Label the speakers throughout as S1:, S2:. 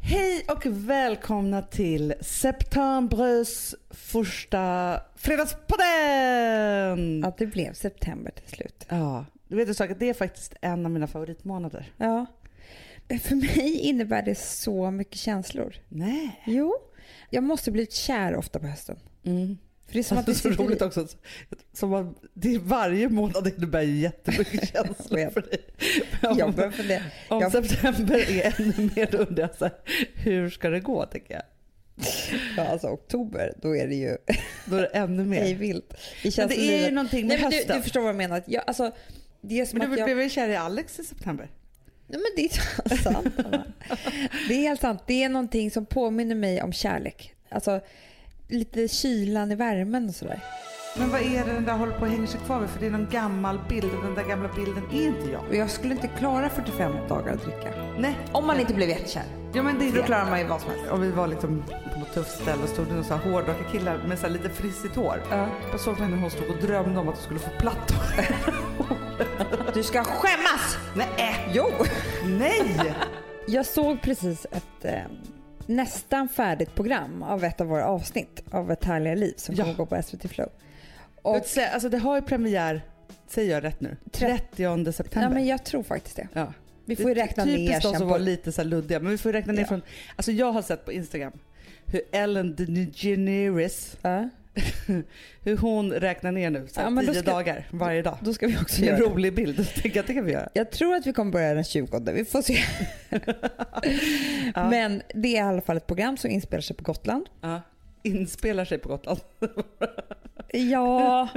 S1: Hej och välkomna till septembrös första fredagspodden!
S2: Att det blev september till slut.
S1: Ja, du vet en sak, det är faktiskt en av mina favoritmånader.
S2: Ja. Men för mig innebär det så mycket känslor.
S1: Nej.
S2: Jo, jag måste bli kär ofta på hösten.
S1: Mm.
S2: För det är som
S1: Fast
S2: att
S1: det är så
S2: det sitter i-
S1: roligt också. Som man, det är varje månad innebär ju jättemycket känslor
S2: vet.
S1: för dig.
S2: Jag
S1: Om,
S2: börjar fundera.
S1: om
S2: jag-
S1: september är ännu mer då undrar jag så här, hur ska det gå tänker jag.
S2: Ja, alltså oktober, då är det ju
S1: Då är det ännu
S2: hej
S1: mer.
S2: vilt. Det
S1: Men
S2: känns
S1: det
S2: som
S1: är ju
S2: livet-
S1: någonting med
S2: Nej, men du,
S1: hösten.
S2: du förstår vad jag menar. Jag, alltså, det är som
S1: men
S2: att
S1: du
S2: jag...
S1: blev ju kär i Alex i september.
S2: Nej, men det är sant. Anna. det är helt sant. Det är någonting som påminner mig om kärlek. Alltså, lite kylan i värmen och sådär.
S1: Men vad är det den där håller på och hänger sig kvar vid? För det är någon gammal bild och den där gamla bilden är inte jag.
S2: Och jag skulle inte klara 45 dagar att dricka.
S1: Nej.
S2: Om man inte blev jättekär.
S1: Ja men det är
S2: Då
S1: det.
S2: klarar man ju vad som helst.
S1: Om vi var liksom på något tufft ställe och stod det någon så här hårdrockiga killar med så här lite frissigt hår. Jag såg henne hon stod och drömde om att hon skulle få platt hår.
S2: Du ska skämmas!
S1: Nej!
S2: Jo!
S1: Nej!
S2: Jag såg precis ett eh, nästan färdigt program av ett av våra avsnitt av Ett härliga liv som
S1: Ja.
S2: kommer gå på SVT Flow.
S1: Och,
S2: Och,
S1: alltså det har ju premiär, säger jag rätt nu?
S2: Tre-
S1: 30
S2: ja,
S1: september.
S2: men jag tror faktiskt det.
S1: Ja.
S2: Vi får ju räkna
S1: Typiskt
S2: ner
S1: de
S2: sen.
S1: som var
S2: På,
S1: lite så här luddiga. Men vi får räkna ner
S2: Ja.
S1: från... Alltså jag har sett på Instagram hur Ellen DeGeneres,
S2: ja,
S1: hur hon räknar ner nu. Så här,
S2: Ja, men då
S1: tio
S2: ska-
S1: dagar varje dag.
S2: då ska vi också
S1: Det är
S2: göra
S1: en
S2: det.
S1: rolig bild. Jag tänker att det kan vi göra.
S2: Jag tror att vi kommer börja den 20. Vi får se.
S1: Ja.
S2: Men det är i alla fall ett program som inspelar sig på Gotland.
S1: Ja. Inspelar sig på Gotland.
S2: Ja,
S1: Ja.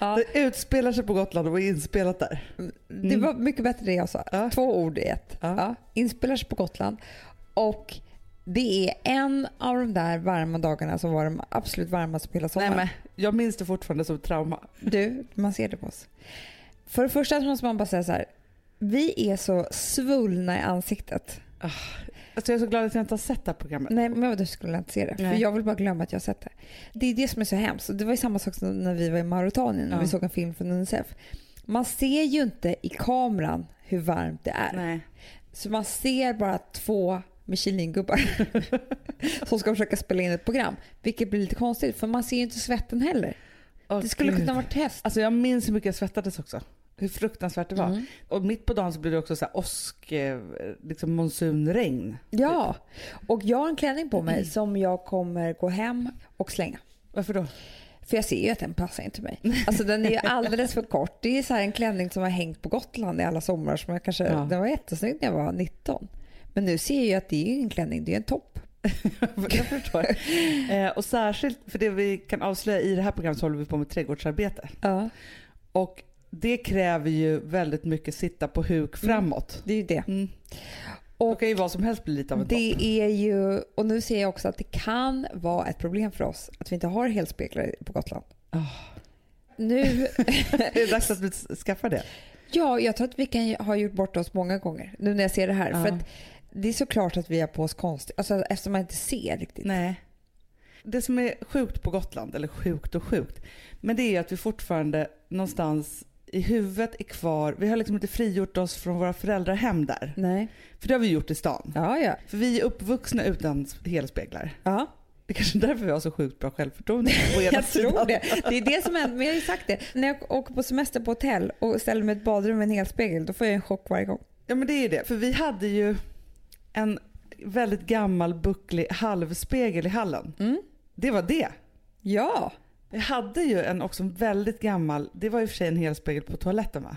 S2: Ja.
S1: Det utspelar sig på Gotland och är inspelat där.
S2: det var mycket bättre det jag sa.
S1: Mm. Ja.
S2: Två ord i ett.
S1: Ja.
S2: Ja, inspelar sig på Gotland. Och det är en av de där varma dagarna som var de absolut varmaste på hela sommaren.
S1: Jag minns det fortfarande som ett trauma.
S2: Du, man ser det på oss. För det första så måste man bara säga så här. Vi är så svullna i ansiktet.
S1: Alltså jag är så glad att jag inte har sett det här programmet.
S2: Nej men du skulle jag inte se det. För
S1: Nej.
S2: jag vill bara glömma att jag har sett det. Det är det som är så hemskt. Och Det var ju samma sak som när vi var i Mauretanien
S1: Ja.
S2: och vi såg en film från Unicef. Man ser ju inte i kameran hur varmt det är.
S1: Nej.
S2: Så man ser bara två Michelingubbar som ska försöka spela in ett program. Vilket blir lite konstigt för man ser ju inte svetten heller.
S1: Åh,
S2: Det skulle
S1: Gud.
S2: kunna vara test.
S1: Alltså jag minns hur mycket jag svettades också. Hur fruktansvärt det var.
S2: Mm.
S1: Och mitt på dagen så blir det också så här åsk, eh, liksom monsunregn.
S2: Ja, och jag har en klänning på mig som jag kommer gå hem och slänga.
S1: Varför då?
S2: För jag ser ju att den passar inte mig. Alltså den är ju alldeles för kort. Det är så här en klänning som har hängt på Gotland i alla somrar. Som jag kanske,
S1: Ja.
S2: Den var jättesnygg när jag var 19. Men nu ser jag ju att det är ju ingen klänning, det är en topp.
S1: jag förstår. Eh, och särskilt för det vi kan avslöja i det här programmet så håller vi på med trädgårdsarbete.
S2: Ja,
S1: Och det kräver ju väldigt mycket sitta på huk
S2: Mm.
S1: framåt.
S2: det är ju det.
S1: Mm.
S2: Och
S1: Då kan ju vad som helst bli lite av en topp.
S2: Det är ju, och nu ser jag också att det kan vara ett problem för oss att vi inte har helspeglar på Gotland.
S1: Ah.
S2: Nu,
S1: Det är dags att vi skaffar det.
S2: ja, jag tror att vi kan ju- ha gjort bort oss många gånger nu när jag ser det här.
S1: Ja.
S2: För att det är såklart att vi har på oss konstigt, alltså, eftersom man inte ser riktigt.
S1: Nej. Det som är sjukt på Gotland, eller sjukt och sjukt, men det är ju att vi fortfarande någonstans i huvudet är kvar. Vi har liksom inte frigjort oss från våra föräldrahem där.
S2: Nej.
S1: För det har vi gjort i stan.
S2: Mm. Ja, ja.
S1: För vi är uppvuxna utan helspeglar.
S2: ja.
S1: Det är kanske är därför vi har så sjukt bra självförtroende. å ena
S2: Jag tror
S1: sidan.
S2: det. Det är det som händer. Men jag har ju sagt det. När jag åker på semester på hotell och ställer mig i ett badrum med en helspegel då får jag en chock varje gång.
S1: Ja men det är ju det. För vi hade ju en väldigt gammal bucklig halvspegel i hallen.
S2: Mm.
S1: Det var det.
S2: Ja.
S1: Vi hade ju en också väldigt gammal, det var i och för sig en helspegel på toaletten va?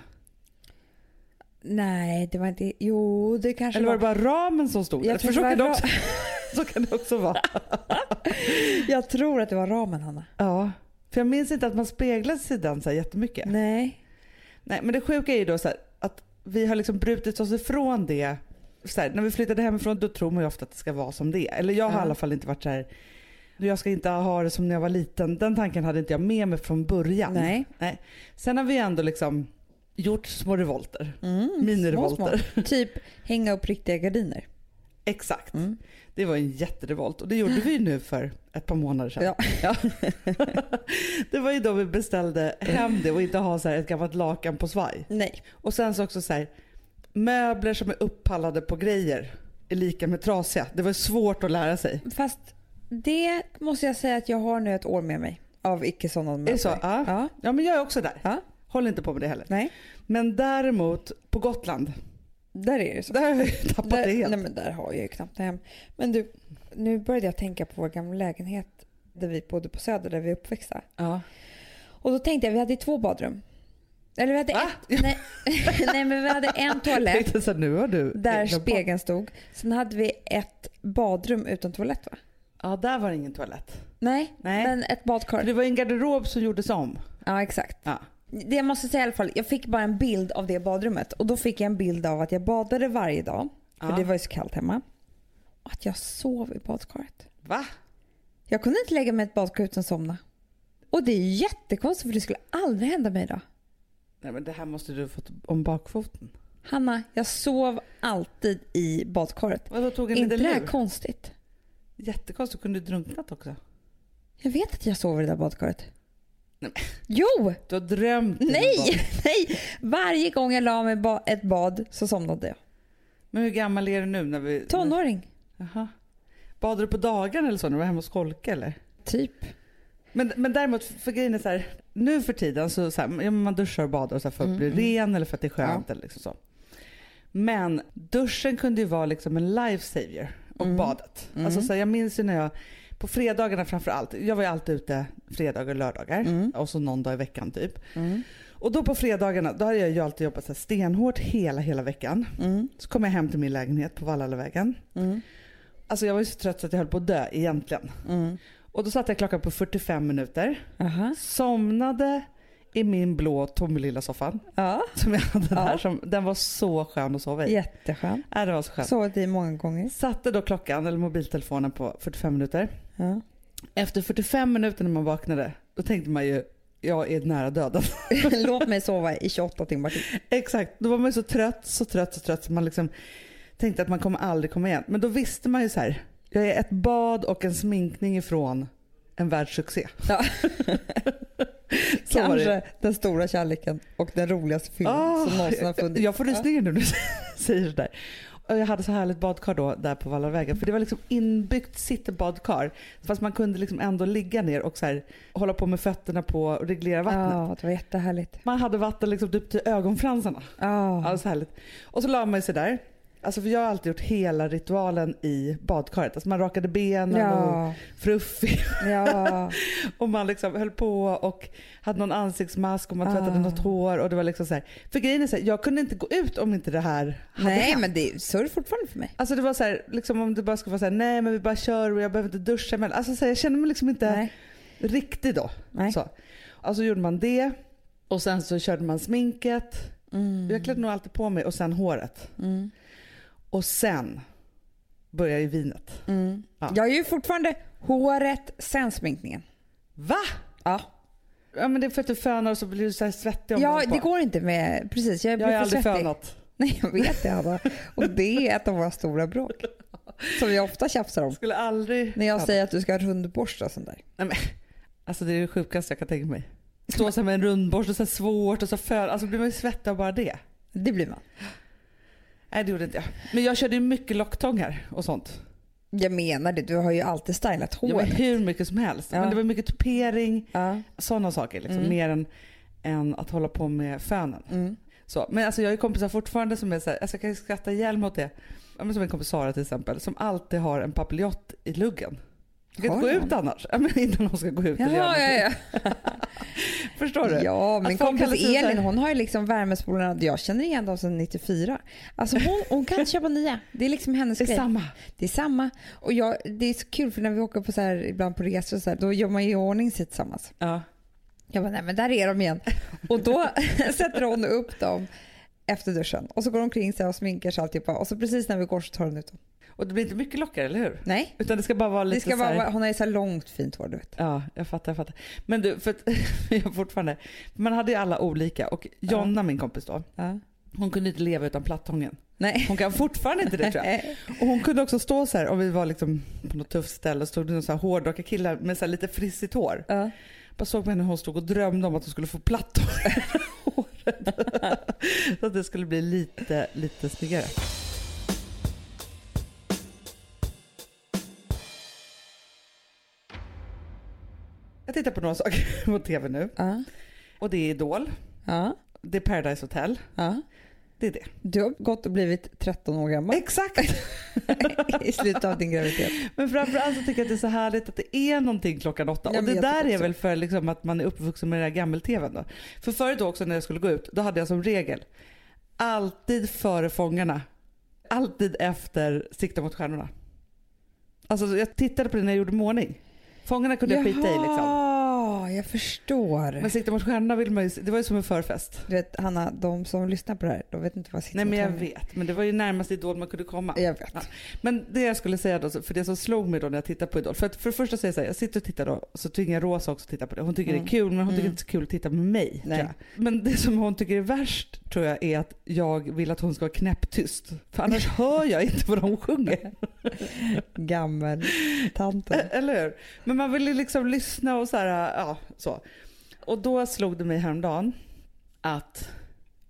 S2: Nej, det var inte... Jo, det kanske
S1: Eller var det bara ramen som stod där?
S2: Jag
S1: För
S2: tror
S1: så
S2: det
S1: kan,
S2: var
S1: det också, så kan det också vara.
S2: Jag tror att det var ramen Hanna.
S1: Ja. För jag minns inte att man speglade sidan så här jättemycket. Nej.
S2: Nej.
S1: men det sjuka är ju då så här, att vi har liksom brutit oss ifrån det. Så här, när vi flyttade hemifrån då tror man ju ofta att det ska vara som det är. Eller jag har i
S2: Ja.
S1: alla fall inte varit så här, "Du, jag ska inte ha det som när jag var liten. Den tanken hade inte jag med mig från början.
S2: Nej.
S1: Sen har vi ändå liksom gjort små revolter.
S2: Mm,
S1: Minirevolter.
S2: små, små. Typ hänga upp riktiga gardiner.
S1: Exakt.
S2: Mm.
S1: Det var en jätterevolt och det gjorde vi ju nu för ett par månader sedan.
S2: Ja.
S1: det var ju då vi beställde hem det och inte ha så här ett gammalt lakan på svaj.
S2: Nej.
S1: Och sen så också så här, möbler som är uppallade på grejer. är lika med trasiga. Det var svårt att lära sig.
S2: Fast det måste jag säga att jag har nu ett år med mig av icke sådana
S1: Är det så? Ja.
S2: Ja.
S1: Ja men jag är också där.
S2: Ja.
S1: Håller inte på med det heller.
S2: Nej,
S1: Men däremot på Gotland,
S2: där är det så.
S1: där har jag ju tappat
S2: Där,
S1: det helt.
S2: nej men där har jag ju knappt hem. Men du, nu började jag tänka på vår gamla lägenhet där vi bodde på Söder där vi är uppväxta.
S1: Ja.
S2: Och då tänkte jag, vi hade ju två badrum. Eller vi hade
S1: Va?
S2: ett, nej, nej men vi hade en
S1: Jag
S2: toalett
S1: tänkte så här, nu har du
S2: där
S1: glömt bort.
S2: spegeln stod. Sen hade vi ett badrum utan toalett va?
S1: Ja, där var det ingen toalett.
S2: Nej,
S1: Nej.
S2: men ett
S1: För
S2: badkar.
S1: det var ju en garderob som gjordes om.
S2: Ja exakt.
S1: Ja.
S2: Det jag måste säga i alla fall, jag fick bara en bild av det badrummet. Och då fick jag en bild av att jag badade varje dag. För
S1: Ja.
S2: det var ju så kallt hemma. Och att jag sov i badkaret.
S1: Va?
S2: Jag kunde inte lägga mig i ett badkar utan att somna. Och det är jättekonstigt för det skulle aldrig hända mig idag.
S1: Nej men det här måste du ha fått om bakfoten.
S2: Hanna, jag sov alltid i badkaret.
S1: Vadå tog en
S2: inte det
S1: liten
S2: här
S1: lur?
S2: konstigt?
S1: Jättekonstigt, du kunde ju drunknat också.
S2: Jag vet att jag sover i det där badkaret.
S1: Nej,
S2: Jo!
S1: Du har drömt. om bak-
S2: Nej! Nej! Varje gång jag la mig i ba- ett bad så somnade jag.
S1: Men hur gammal är du nu när vi...
S2: Tonåring.
S1: Jaha. Badade du på dagarna eller så när du var hemma och skolkade eller?
S2: Typ.
S1: Men, men däremot, för grejen är så här, nu för tiden så, så här, ja, men man duschar och badar så här för att
S2: Mm,
S1: bli
S2: mm.
S1: ren eller för att det är skönt. Eller liksom så. Men duschen kunde ju vara liksom en lifesaver och
S2: Mm.
S1: badet.
S2: Mm.
S1: Alltså, så här, jag minns ju när jag, på fredagarna framförallt, jag var ju alltid ute fredagar och lördagar
S2: Mm.
S1: och så någon dag i veckan typ.
S2: Mm.
S1: Och då på fredagarna, då hade jag ju alltid jobbat så här stenhårt hela, hela veckan.
S2: Mm.
S1: Så kom jag hem till min lägenhet på Vallalavägen.
S2: Mm.
S1: Alltså jag var ju så trött så att jag höll på att dö egentligen.
S2: Mm.
S1: Och då satte jag klockan på 45 minuter.
S2: Aha.
S1: Somnade i min blå lilla soffan
S2: Ja,
S1: som jag hade
S2: Ja.
S1: där. Som, den var så skön att sova i.
S2: jätteskönt.
S1: Nej, det var så skönt.
S2: Sovit i många gånger.
S1: Satte då klockan, eller mobiltelefonen på 45 minuter.
S2: Ja.
S1: Efter 45 minuter när man vaknade, då tänkte man ju jag är nära döden.
S2: Låt mig sova i 28 timmar till.
S1: Exakt, då var man ju så trött, så trött, så trött så man liksom tänkte att man kommer aldrig komma igen. Men då visste man ju så här, jag är ett bad och en sminkning ifrån en världssuccé.
S2: Ja.
S1: Så var det.
S2: Kanske den stora kärleken och den roligaste filmen
S1: Ah,
S2: som någonsin har funnits.
S1: Jag får rysningar nu när du säger sådär. Och jag hade så härligt badkar då där på Vallavägen. För det var liksom inbyggt sittbadkar. Fast man kunde liksom ändå ligga ner och så här, hålla på med fötterna på och reglera vattnet.
S2: Ja, det var jättehärligt.
S1: Man hade vatten liksom typ till ögonfransarna.
S2: Ja.
S1: Ja, så härligt. Och så la man sig där. Alltså för jag har alltid gjort hela ritualen i badkaret. Alltså man rakade benen och
S2: ja.
S1: fruffig
S2: ja.
S1: och man liksom höll på och hade någon ansiktsmask och man tvättade
S2: Ah.
S1: något hår. Och det var liksom så här. För grejen är så här, jag kunde inte gå ut om inte det här hade
S2: Nej,
S1: hänt.
S2: men det är surr fortfarande för mig.
S1: Alltså det var så här, liksom om det bara skulle vara så här, nej men vi bara kör och jag behöver inte duscha. Men alltså så här, jag kände mig liksom inte
S2: Nej.
S1: riktig då.
S2: Nej.
S1: Så. Och så gjorde man det och sen så körde man sminket.
S2: Mm.
S1: Jag klädde nog alltid på mig och sen håret.
S2: Mm.
S1: Och sen började ju vinet.
S2: Mm.
S1: Ja.
S2: Jag är ju fortfarande håret sen sminkningen.
S1: Va?
S2: Ja,
S1: Ja men det är för att du fönar och så blir du så här svettig om
S2: ja
S1: dagen på.
S2: det går inte med... Precis, jag
S1: Jag
S2: blir
S1: har
S2: för
S1: aldrig
S2: svettig.
S1: fönat.
S2: Nej, jag vet det Hanna. Och det är ett av våra stora bråk. Som jag ofta tjafsar om.
S1: Skulle aldrig
S2: När jag
S1: föna.
S2: säger att du ska ha rundborsta och sånt där.
S1: Alltså det är det sjukaste jag kan tänka mig. Stå så här med en rundborst och så här svårt och så föl. Alltså blir man ju svettig av bara det.
S2: Det blir man.
S1: Nej det gjorde inte jag. Men jag körde ju mycket locktångar och sånt.
S2: Jag menar det, du har ju alltid stylat
S1: Jag var
S2: hår.
S1: hur mycket som helst.
S2: Ja.
S1: Men det var mycket tupering,
S2: Ja.
S1: sådana saker. Liksom,
S2: Mm.
S1: Mer än, än att hålla på med fönen.
S2: Mm.
S1: Så. Men alltså jag har ju kompisar fortfarande som är så här, alltså jag kan ju skratta ihjäl mig åt det. Ja, men Som en kompis Sara till exempel som alltid har en papiljott i luggen. Du kan
S2: Har
S1: inte gå
S2: hon?
S1: ut annars. Ja, men innan hon ska gå ut eller göra
S2: Jaha, ja,
S1: någonting.
S2: ja.
S1: Förstår du?
S2: Ja, min
S1: Att folk
S2: kompis
S1: hela tiden
S2: Elin
S1: säger-
S2: hon har ju liksom värmespolarna. Jag känner igen dem sedan 94. Alltså hon, hon kan köpa nya. Det är liksom hennes
S1: Det är
S2: grej.
S1: samma.
S2: Det är samma. Och jag, det är så kul för när vi åker på så här, ibland på resor och så här, då gör man ju i ordning sig tillsammans.
S1: Ja.
S2: Jag bara, nej men där är de igen. Och då sätter hon upp dem efter duschen. Och så går hon omkring sig och sminkar sig och alltihopa. Och så precis när vi går så tar hon ut dem.
S1: Och det blir inte mycket lockar eller hur?
S2: Nej,
S1: Utan det ska bara vara lite
S2: det ska
S1: så här,
S2: bara, vara- hon har ju så här långt fint hår du vet.
S1: Ja, jag fattar, jag fattar. Men du, för att, jag fortfarande. Man hade ju alla olika och Jonna, min kompis då,
S2: Ja.
S1: hon kunde inte leva utan plattången.
S2: Nej.
S1: Hon kan fortfarande inte det tror jag. Och hon kunde också stå så här, om vi var liksom på något tufft ställe och stod det någon så här hårdrockig kille med så här lite frissigt hår.
S2: Ja.
S1: Bara såg man henne hon stod och drömde om att hon skulle få plattång i håret. Så att det skulle bli lite, lite snyggare. Jag tittar på några saker på TV nu.
S2: Ja.
S1: Och det är Idol,
S2: Ja.
S1: det är Paradise Hotel.
S2: Ja.
S1: Det är det.
S2: Du har gått och blivit 13 år gammal
S1: Exakt!
S2: i slutet av din graviditet.
S1: Men framförallt så tycker jag att det är så härligt att det är någonting klockan åtta.
S2: Ja,
S1: och
S2: men
S1: det
S2: jag
S1: där
S2: tycker
S1: är
S2: också.
S1: väl för liksom att man är uppvuxen med den där gammel-tvn då. För förut då också när jag skulle gå ut, då hade jag som regel alltid före Fångarna. Alltid efter Sikta mot stjärnorna. Alltså jag tittade på det när jag gjorde måning. Fångarna kunde jag skita i liksom.
S2: Jaha, jag förstår.
S1: Men Sikta mot stjärnorna ville man ju, det var ju som en förfest.
S2: Du vet Hanna, de som lyssnar på det här, de vet inte vad sitter
S1: Nej men jag
S2: och tar med.
S1: vet, men det var ju närmast Idol man kunde komma.
S2: Jag vet.
S1: Ja. Men det jag skulle säga då, för det som slog mig då när jag tittar på Idol. För, att för det första säger jag så här, jag sitter och tittar då, så tvingar jag Rosa också att titta på det. Hon tycker
S2: Mm.
S1: det är kul men hon tycker
S2: Mm.
S1: inte det är så kul att titta med mig. tror
S2: Nej.
S1: jag. Men det som hon tycker är värst tror jag är att jag vill att hon ska vara knäpptyst. För annars hör jag inte vad de sjunger.
S2: Gammeltanten.
S1: Eller hur? Men man vill ju liksom lyssna och så här, ja så. Och då slog det mig häromdagen att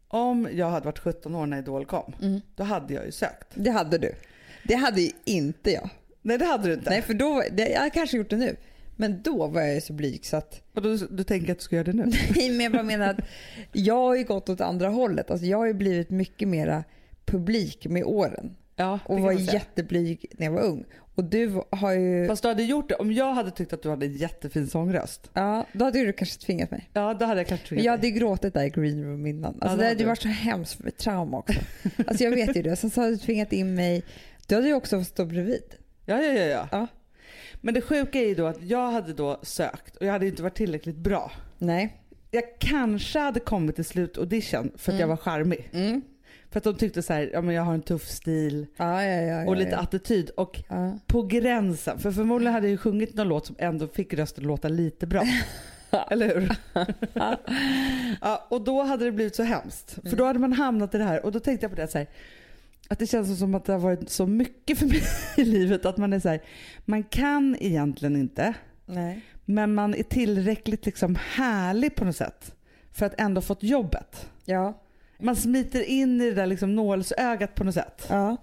S1: om jag hade varit 17 år när Idol kom,
S2: Mm.
S1: då hade jag ju sökt.
S2: Det hade du. Det hade ju inte jag.
S1: Nej det hade du inte.
S2: Nej, för då, var- det, jag har kanske gjort det nu. Men då var jag ju så blyg så att...
S1: Och du, du tänker att du ska göra det nu?
S2: Nej, men jag bara menar att jag har ju gått åt andra hållet. Alltså, jag har ju blivit mycket mera publik med åren.
S1: Ja, det
S2: Och
S1: kan
S2: var
S1: man säga.
S2: jätteblyg när jag var ung. Och du har ju...
S1: Fast du hade gjort det om jag hade tyckt att du hade en jättefin sångröst.
S2: Ja, då hade du kanske tvingat mig.
S1: Ja, då hade jag kanske
S2: Men
S1: tvingat
S2: jag
S1: dig.
S2: hade ju gråtit där i green room innan. Alltså,
S1: det
S2: det
S1: hade
S2: hade ju
S1: du.
S2: varit så hemskt för trauma också. Alltså, jag vet ju det. Sen så hade du tvingat in mig. Du hade ju också fått stå bredvid.
S1: Ja, ja, ja, ja.
S2: Ja.
S1: Men det sjuka är ju då att jag hade då sökt och jag hade inte varit tillräckligt bra.
S2: Nej.
S1: Jag kanske hade kommit till slutaudition för att
S2: Mm.
S1: jag var charmig.
S2: Mm.
S1: För att de tyckte så här, ja men jag har en tuff stil
S2: Ja, ja, ja, ja,
S1: och lite
S2: ja.
S1: attityd. Och
S2: Ja.
S1: på gränsen, för förmodligen hade jag ju sjungit någon låt som ändå fick rösten låta lite bra. Eller hur? ja, och då hade det blivit så hemskt. För då hade man hamnat i det här och då tänkte jag på det så här, att det känns som att det har varit så mycket för mig i livet att man är så här, man kan egentligen inte
S2: Nej.
S1: men man är tillräckligt liksom härlig på något sätt för att ändå fått jobbet.
S2: Ja.
S1: Man smiter in i det där liksom nålsögat på något sätt.
S2: ja.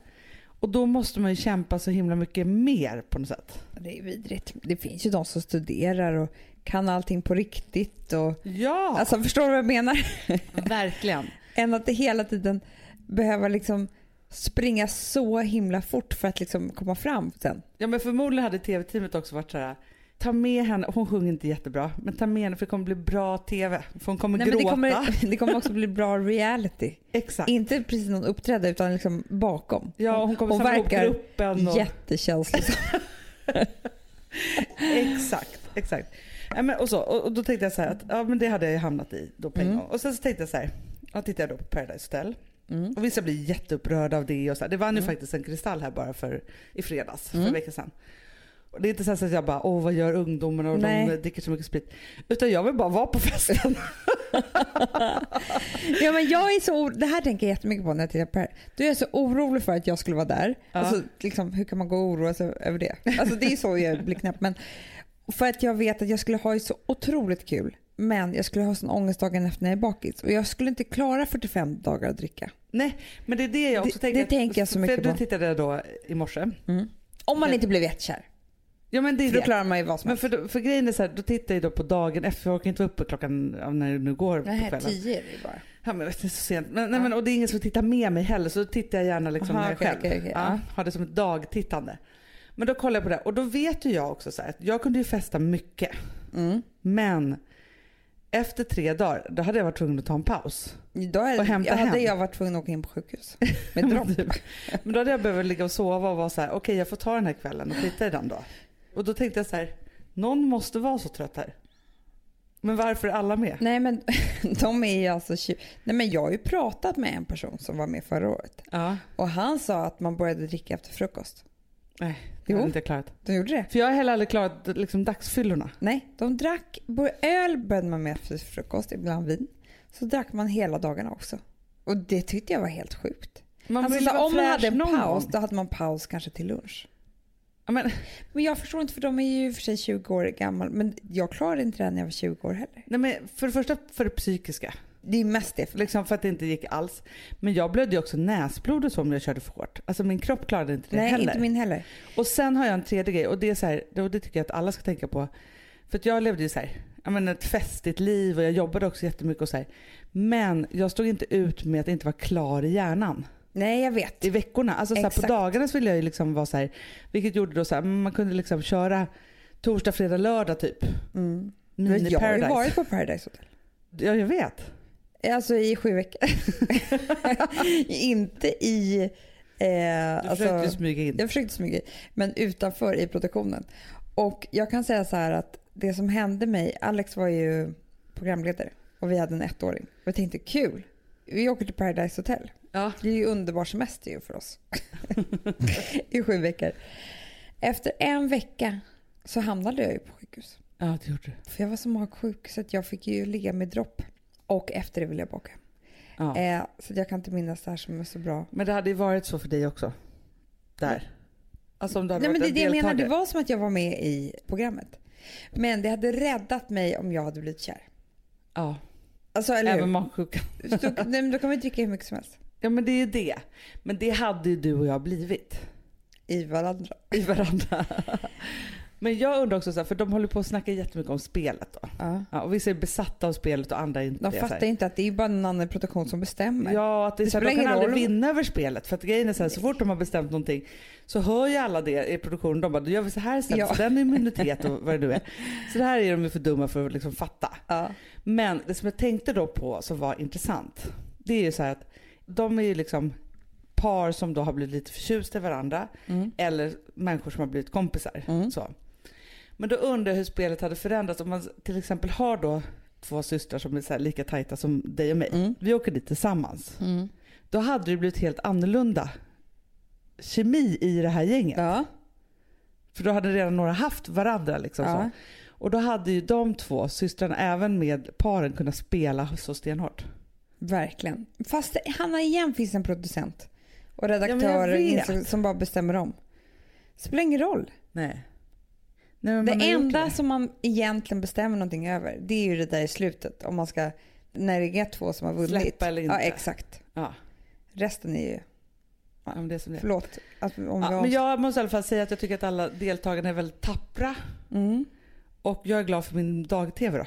S1: Och då måste man ju kämpa så himla mycket mer på något sätt.
S2: Det är vidrigt. Det finns ju de som studerar och kan allting på riktigt. Och,
S1: Ja,
S2: Alltså förstår du vad jag menar?
S1: verkligen.
S2: Än att det hela tiden behöva liksom springa så himla fort för att liksom komma fram sen.
S1: Ja men förmodligen hade tv-teamet också varit så här. Ta med henne, hon sjunger inte jättebra, men ta med henne för det kommer bli bra tv. För hon kommer
S2: Nej, men
S1: gråta.
S2: det, kommer, det kommer också bli bra reality.
S1: Exakt.
S2: Inte precis någon uppträdande utan liksom bakom.
S1: Ja, hon kommer
S2: Hon
S1: samla ihop
S2: verkar
S1: gruppen. Och...
S2: Jättekänsligt.
S1: Exakt, exakt. Ja, men, och, så, och, och då tänkte jag så här att ja, men det hade jag ju hamnat i då på en
S2: Mm.
S1: gång. Och sen så tänkte jag så här, ja, tittar jag då på Paradise Hotel.
S2: Mm.
S1: Och vissa blir jätteupprörda av det. Och så här. Det vann ju
S2: Mm.
S1: faktiskt en kristall här bara för, i fredags, för
S2: Mm.
S1: en vecka sedan. Och det är inte så här så att jag bara, åh vad gör ungdomarna och
S2: Nej.
S1: de dricker så mycket sprit. Utan jag vill bara vara på festen.
S2: Ja, men jag är så or- det här tänker jag jättemycket på när jag tittar på det här. Då är jag så orolig för att jag skulle vara där.
S1: Ja.
S2: Alltså, liksom, hur kan man gå och oroa sig över det? Alltså, det är så jag blir knäpp. Men för att jag vet att jag skulle ha ju så otroligt kul. Men jag skulle ha sån ångest dagen efter när jag är bakis. Och jag skulle inte klara 45 dagar att dricka.
S1: Nej, men det är det jag också
S2: Det-
S1: tänker.
S2: det
S1: att-
S2: tänker jag så mycket
S1: för Du
S2: på.
S1: tittade då i morse.
S2: Om man
S1: Ja.
S2: inte blev jättekär.
S1: Ja men det är
S2: För då
S1: det.
S2: klarar man ju vad som
S1: Men
S2: helst.
S1: för, för grejen är så här, då tittar jag då på dagen efter, för jag orkar inte vara uppe klockan, ja, när det nu går på
S2: Nej,
S1: kvällen.
S2: 10 är det ju bara.
S1: Ja, men jag vet inte, det är så sent. Men,
S2: Ja.
S1: nej, men, och det är ingen som tittar med mig heller så då tittar jag gärna liksom
S2: Aha,
S1: när jag
S2: okej,
S1: själv.
S2: okej, okej,
S1: ja,
S2: ja.
S1: Har det som ett dagtittande. Men då kollar jag på det och då vet ju jag också så här, att jag kunde ju festa mycket.
S2: Mm.
S1: Men efter tre dagar, då hade jag varit tvungen att ta en paus.
S2: Då är,
S1: Och hämta
S2: ja, hade
S1: hem. Typ.
S2: jag varit tvungen att åka in på sjukhus. Med dropp.
S1: Men då hade jag behövt ligga och sova och vara så här, okej jag får ta den här kvällen och titta i den då. Och då tänkte jag så här, någon måste vara så trött här. Men varför är alla med?
S2: Nej men de är ju alltså tju- Nej men jag har ju pratat med en person som var med förra året.
S1: Ja,
S2: Och han sa att man började dricka efter frukost.
S1: nej det
S2: Jo.
S1: hade inte jag klarat.
S2: De gjorde det?
S1: För jag har heller aldrig klarat liksom, dagsfyllorna.
S2: Nej, de drack... bör- Öl började man med efter frukost, ibland vin. Så drack man hela dagarna också. Och det tyckte jag var helt sjukt.
S1: Alltså, Man
S2: Han
S1: vill
S2: sa
S1: vara
S2: om man
S1: fräsch
S2: hade en
S1: någon
S2: paus,
S1: gång.
S2: då hade man paus kanske till lunch.
S1: Ja, men,
S2: Men jag förstår inte för de är ju i och för sig 20 år gammal. Men jag klarade inte det här när jag var 20 år heller.
S1: nej, men för det första för det psykiska.
S2: Det är mest det. För...
S1: Liksom för att det inte gick alls. Men jag blödde ju också näsblod och så om jag körde för hårt. Alltså min kropp klarade inte det
S2: Nej,
S1: heller.
S2: inte min heller.
S1: Och sen har jag en tredje grej och det är så här, och det tycker jag att alla ska tänka på. För att jag levde ju så här, jag menar, ett festligt liv och jag jobbade också jättemycket och så här. Men jag stod inte ut med att inte vara klar i hjärnan
S2: Nej, jag vet.
S1: i veckorna. Alltså så här, på
S2: Exakt.
S1: dagarna så ville jag ju liksom vara så här, vilket gjorde då så här, man kunde liksom köra torsdag, fredag, lördag typ.
S2: Mm. Men
S1: Mini
S2: jag har ju
S1: paradise.
S2: varit på Paradise Hotel.
S1: Ja, jag vet.
S2: Alltså i sju veckor. inte i... Eh,
S1: Du
S2: alltså-
S1: försökte ju smyga in.
S2: Jag försökte smyga i, men utanför i produktionen. Och jag kan säga så här att det som hände mig, Alex var ju programledare och vi hade en ettåring. Och jag tänkte kul, vi åker till Paradise Hotel.
S1: Ja.
S2: Det är ju underbar semester ju för oss. I sju veckor. Efter en vecka så hamnade jag ju på sjukhus.
S1: Ja, det gjorde du.
S2: För jag var så magsjuk så att jag fick ju ligga med dropp. Och efter det ville jag baka.
S1: Ja.
S2: Eh, så jag kan inte minnas det här som är så bra.
S1: Men det hade ju varit så för dig också. Där. Alltså om du hade
S2: Nej, men
S1: varit
S2: det är
S1: en
S2: det jag menar. Det
S1: deltagare.
S2: var som att jag var med i programmet. Men det hade räddat mig om jag hade blivit kär.
S1: Ja,
S2: Alltså, eller
S1: även
S2: hur?
S1: magsjukan.
S2: Så, nej, men då kan man ju dricka hur mycket som helst.
S1: Ja men det är ju det. Men det hade ju du och jag blivit.
S2: I varandra.
S1: I varandra. men jag undrar också så här, för de håller på att snacka jättemycket om spelet då.
S2: Ja.
S1: Ja, och vissa är besatta av spelet och andra är inte
S2: De
S1: det, så
S2: fattar
S1: här.
S2: inte att det är bara en annan produktion som bestämmer.
S1: Ja, att det är
S2: Det
S1: så här, de
S2: spelar
S1: kan
S2: ingen
S1: aldrig
S2: roll.
S1: vinna över spelet. För att grejen är så här, så fort de har bestämt någonting så hör ju alla det i produktionen. De bara, då gör vi så här sen,
S2: Ja.
S1: så den är immunitet och vad det nu är. Så det här är de ju för dumma för att liksom fatta.
S2: Ja.
S1: Men det som jag tänkte då på som var intressant. Det är ju så här att de är ju liksom par som då har blivit lite förtjusta i varandra.
S2: Mm.
S1: Eller människor som har blivit kompisar.
S2: Mm.
S1: Så. Men då undrar jag hur spelet hade förändrats. Om man till exempel har då två systrar som är så här lika tajta som dig och mig.
S2: Mm.
S1: Vi åker dit tillsammans.
S2: Mm.
S1: Då hade det blivit helt annorlunda kemi i det här gänget.
S2: Ja.
S1: För då hade redan några haft varandra. Liksom
S2: Ja.
S1: så. Och då hade ju de två systrarna även med paren kunnat spela så stenhårt.
S2: Verkligen. Fast det- Hanna igen finns en producent och
S1: Ja,
S2: redaktör
S1: men jag vet.
S2: som, som bara bestämmer om. Spelar ingen roll.
S1: Nej. Nej men man har
S2: det
S1: gjort
S2: enda
S1: det.
S2: som man egentligen bestämmer någonting över det är ju det där i slutet. Om man ska, när det är två som har vunnit.
S1: Släppa eller inte.
S2: Ja exakt.
S1: Ja.
S2: Resten är ju,
S1: Ja, men det är som det är.
S2: förlåt. Att, om
S1: Ja,
S2: jag,
S1: men jag måste i alla fall säga att jag tycker att alla deltagarna är väldigt tappra.
S2: mm.
S1: Och jag är glad för min dag-tv då.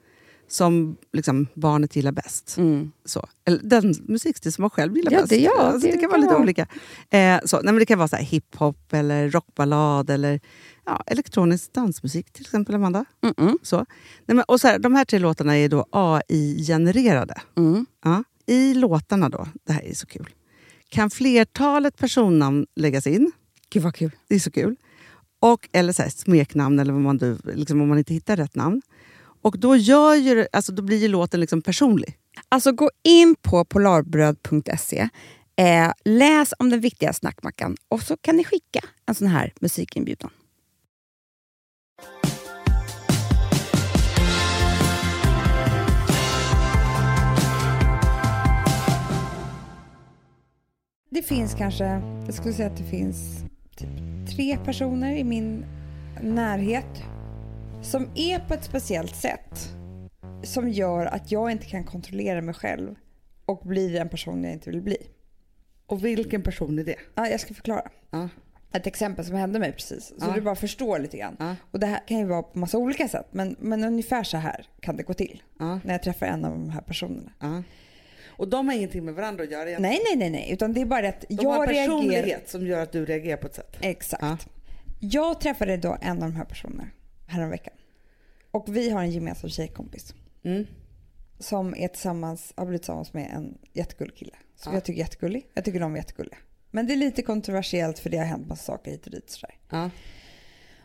S3: som liksom, barnet gillar bäst.
S4: Mm.
S3: Så. Eller den musikstil som man själv gillar
S4: Ja,
S3: bäst.
S4: det- ja,
S3: alltså, det,
S4: det
S3: kan vara
S4: kan
S3: lite
S4: vara.
S3: olika. Eh, så. Nej, men det kan vara så här hiphop, eller rockballad eller ja, elektronisk dansmusik till exempel, Amanda.
S4: Mm-mm.
S3: Så. Nej, men, och så här, de här tre låtarna är då AI-genererade.
S4: Mm.
S3: Ja. I låtarna då, det här är så kul, kan flertalet personnamn läggas in.
S4: Gud vad kul.
S3: Det är så kul. Och, eller så här, smeknamn, eller vad man, nu- liksom, om man inte hittar rätt namn. Och då, gör ju, det- alltså, då blir ju låten liksom personlig.
S4: Alltså gå in på polarbröd.se, eh, läs om den viktiga snackmackan och så kan ni skicka en sån här musikinbjudan.
S2: Det finns kanske, jag skulle säga att det finns typ tre personer i min närhet som är på ett speciellt sätt som gör att jag inte kan kontrollera mig själv och blir den person jag inte vill bli.
S1: Och vilken person är det?
S2: Ja, jag ska förklara.
S1: Ja.
S2: Ett exempel som hände mig precis, så
S1: Ja.
S2: du bara förstår lite grann.
S1: Ja.
S2: Och det här kan ju vara på massa olika sätt, men, men ungefär så här kan det gå till
S1: Ja.
S2: när jag träffar en av de här personerna.
S1: Ja. Och de har ingenting med varandra att göra egentligen.
S2: Nej, nej, nej, nej, utan det är bara det att
S1: De
S2: jag
S1: har en personlighet
S2: reagerar...
S1: som gör att du reagerar på ett sätt.
S2: Exakt.
S1: Ja.
S2: Jag träffade då en av de här personerna häromveckan. Och vi har en gemensam tjejkompis
S1: Mm.
S2: som är tillsammans, har blivit tillsammans med en jättegullig kille. Som
S1: Ja.
S2: jag tycker är jättegullig. Jag tycker de är jättegulliga. Men det är lite kontroversiellt för det har hänt massa saker hit och dit. Sådär.
S1: Ja.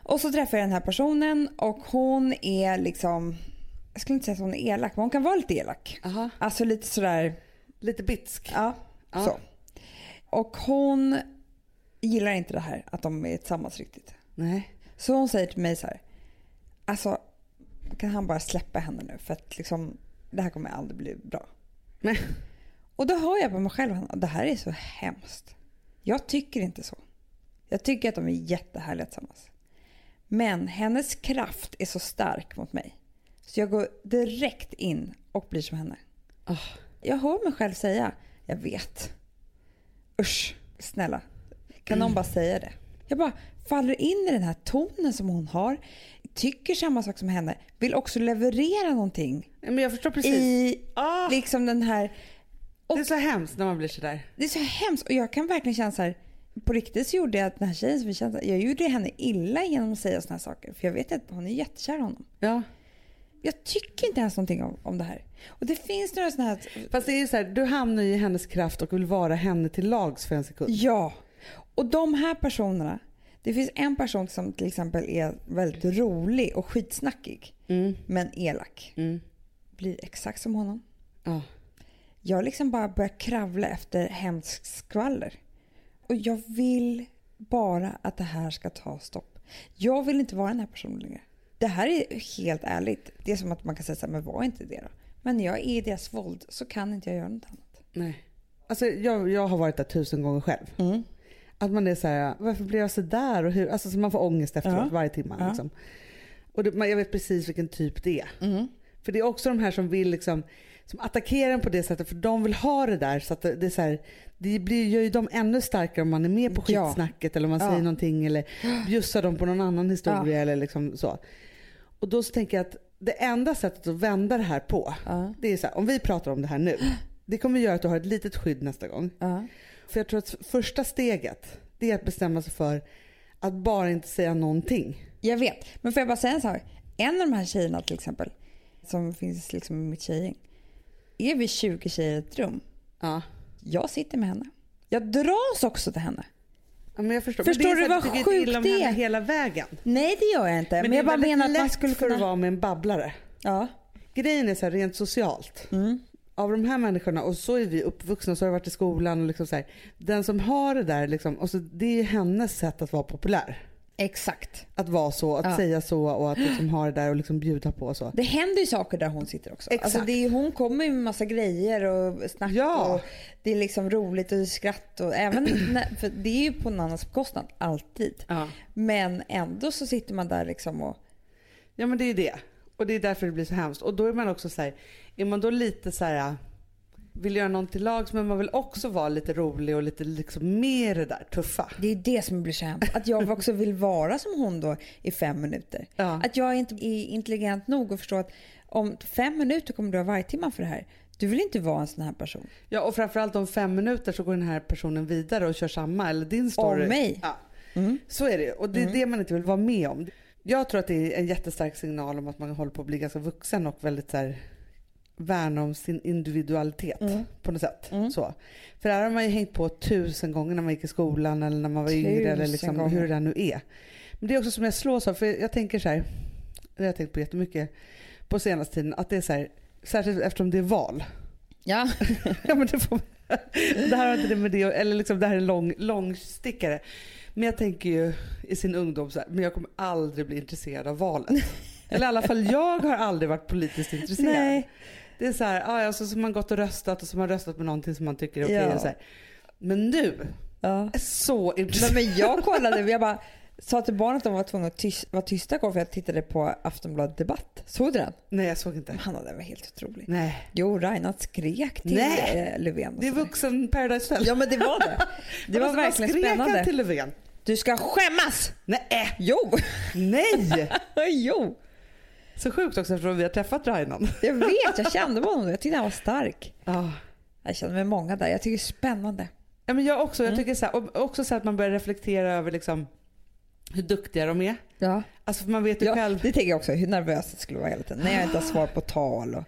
S2: Och så träffar jag den här personen och hon är liksom, jag skulle inte säga att hon är elak, men hon kan vara lite elak.
S1: Aha.
S2: Alltså lite sådär,
S1: Lite bitsk.
S2: ja,
S1: Ja.
S2: så. Och hon gillar inte det här att de är tillsammans riktigt.
S1: Nej.
S2: Så hon säger till mig så här. Alltså kan han bara släppa henne nu för att liksom det här kommer aldrig bli bra.
S1: Nej.
S2: Och då hör jag på mig själv att det här är så hemskt. Jag tycker inte så. Jag tycker att de är jättehärliga tillsammans. Men hennes kraft är så stark mot mig. Så jag går direkt in och blir som henne.
S1: Ah.
S2: Jag hör mig själv säga, jag vet. Usch, snälla. Kan någon bara säga det? Jag bara faller in i den här tonen som hon har. Tycker samma sak som henne. Vill också leverera någonting.
S1: Nej, Men jag förstår precis.
S2: I
S1: Ah,
S2: liksom den här...
S1: Det är så hemskt när man blir sådär.
S2: Det är så hemskt och jag kan verkligen känna så här. På riktigt så gjorde jag att den här tjejen som vi kände, jag gjorde henne illa genom att säga såna här saker. För jag vet att hon är jättekär i honom.
S1: Ja.
S2: Jag tycker inte ens någonting om, om det här. Och det finns några såna här...
S1: Fast det är ju så här, du hamnar ju i hennes kraft och vill vara henne till lags för en sekund.
S2: Ja. Och de här personerna. Det finns en person som till exempel är väldigt rolig och skitsnackig. Men elak.
S1: Mm.
S2: Blir exakt som honom.
S1: Ja.
S2: Jag liksom bara börjar kravla efter hemskt skvaller. Och jag vill bara att det här ska ta stopp. Jag vill inte vara den här personen längre. Det här är helt ärligt. Det är som att man kan säga så här, men var inte det då. Men när jag är i deras våld så kan inte jag göra något annat. Mm.
S1: Nej. Alltså jag, jag har varit där tusen gånger själv. Att man är så här, varför blev jag så där? Och hur? Alltså, så man får ångest efteråt
S2: Ja.
S1: varje timme.
S2: Ja.
S1: Liksom. Och det, man, jag vet precis vilken typ det är.
S2: Mm.
S1: För det är också de här som vill liksom, som attackerar en på det sättet för de vill ha det där. Så att det, det, är så här, det blir, gör ju dem ännu starkare om man är med på
S2: Ja.
S1: skitsnacket eller om man
S2: Ja.
S1: säger någonting eller bjussar dem på någon annan historia eller liksom så. Och då så tänker jag att det enda sättet att vända det här på
S2: Ja.
S1: det är så här, om vi pratar om det här nu. Det kommer göra att du har ett litet skydd nästa gång.
S2: Ja.
S1: För jag tror att första steget det är att bestämma sig för att bara inte säga någonting.
S2: Jag vet. Men får jag bara säga en sak? En av de här tjejerna till exempel, som finns liksom i mitt tjejgäng. Är vi 20 tjejer i ett rum?
S1: Ja.
S2: Jag sitter med henne. Jag dras också till henne.
S1: Ja, Men jag förstår.
S2: Förstår
S1: men det
S2: du
S1: är så att
S2: vad
S1: tycker inte illa
S2: sjukt
S1: om
S2: det är?
S1: henne hela vägen.
S2: Nej det gör jag inte. Men,
S1: det
S2: jag
S1: är
S2: bara
S1: väldigt
S2: menar att man
S1: lätt
S2: skulle
S1: för
S2: kunna...
S1: att vara med en babblare.
S2: Ja.
S1: Grejen är så här, rent socialt.
S2: Mm.
S1: Av de här människorna, och så är vi uppvuxna, så har vi varit i skolan. Och liksom så här, den som har det där, liksom, och så, det är ju hennes sätt att vara populär.
S2: Exakt.
S1: Att vara så, att
S2: Ja.
S1: säga så och att liksom ha det där och liksom bjuda på och så.
S2: Det händer ju saker där hon sitter också.
S1: Exakt.
S2: Alltså det är, hon kommer ju med massa grejer och snack
S1: Ja.
S2: och det är liksom roligt och skratt. Och även när, för det är ju på någon annans bekostnad, alltid.
S1: Ja.
S2: Men ändå så sitter man där liksom och...
S1: Ja men det är ju det. Och det är därför det blir så hemskt. Och då är man också så här, är man då lite så här vill göra någon till lags men man vill också vara lite rolig och lite liksom med i det där tuffa.
S2: Det är ju det som blir så hemskt. Att jag också vill vara som hon då i fem minuter.
S1: Ja.
S2: Att jag inte är intelligent nog att förstå att om fem minuter kommer du ha varje timme för det här. Du vill inte vara en sån här person.
S1: Ja och framförallt om fem minuter så går den här personen vidare och kör samma eller din story.
S2: Om mig.
S1: Ja.
S2: Mm.
S1: Så är det ju. och det är det man inte vill vara med om. Jag tror att det är en jättestark signal om att man håller på att bli ganska vuxen och väldigt så här värna om sin individualitet
S2: Mm.
S1: på något sätt. Så. För det här har man ju hängt på tusen gånger när man gick i skolan eller när man var yngre eller
S2: Tusen
S1: liksom
S2: gånger.
S1: hur det där nu är. Men det är också som jag slås av, för jag tänker så här, det har jag tänkt på jättemycket på senaste tiden, att det är så här, särskilt eftersom det är val.
S2: Ja.
S1: Ja, men det, får, det här har inte det med det eller liksom det här är en lång, lång stickare. Men jag tänker ju i sin ungdom så här, men jag kommer aldrig bli intresserad av valet. Eller i alla fall jag har aldrig varit politiskt intresserad.
S2: Nej.
S1: Det är så här, ja, alltså, som man gått och röstat och som man röstat med någonting som man tycker är okej.
S2: Ja.
S1: och så här. Men nu
S2: Ja.
S1: är så
S2: Nej,
S1: intresserad.
S2: men jag kollade, jag bara sa till barnet att de var tvungna att tyst, vara tysta igår för jag tittade på Aftonbladet Debatt. Såg du den?
S1: Nej jag såg inte.
S2: Hanna den var helt otrolig.
S1: Nej.
S2: Jo, Reinhardt skrek till
S1: Nej.
S2: eh, Löfven. och
S1: Det är
S2: sådär.
S1: vuxen Paradise Hotel.
S2: Ja men det var det. Det var
S1: Alltså, vad
S2: verkligen
S1: skrek han
S2: spännande.
S1: till Löfven?
S2: Du ska skämmas!
S1: Nej! eh,
S2: Jo!
S1: Nej!
S2: jo!
S1: Så sjukt också eftersom vi har träffat Rainon.
S2: Jag vet, jag kände på honom. Jag tyckte han var stark.
S1: Ja.
S2: Jag kände med många där. Jag tycker det är spännande.
S1: Ja, men jag också. Jag
S2: Mm.
S1: tycker så här, och också så här att man börjar reflektera över liksom hur duktiga de är.
S2: Ja.
S1: Alltså för man vet ju
S2: Ja,
S1: själv.
S2: det tänker jag också, hur nervös jag skulle vara hela tiden. När jag inte har svar på tal och...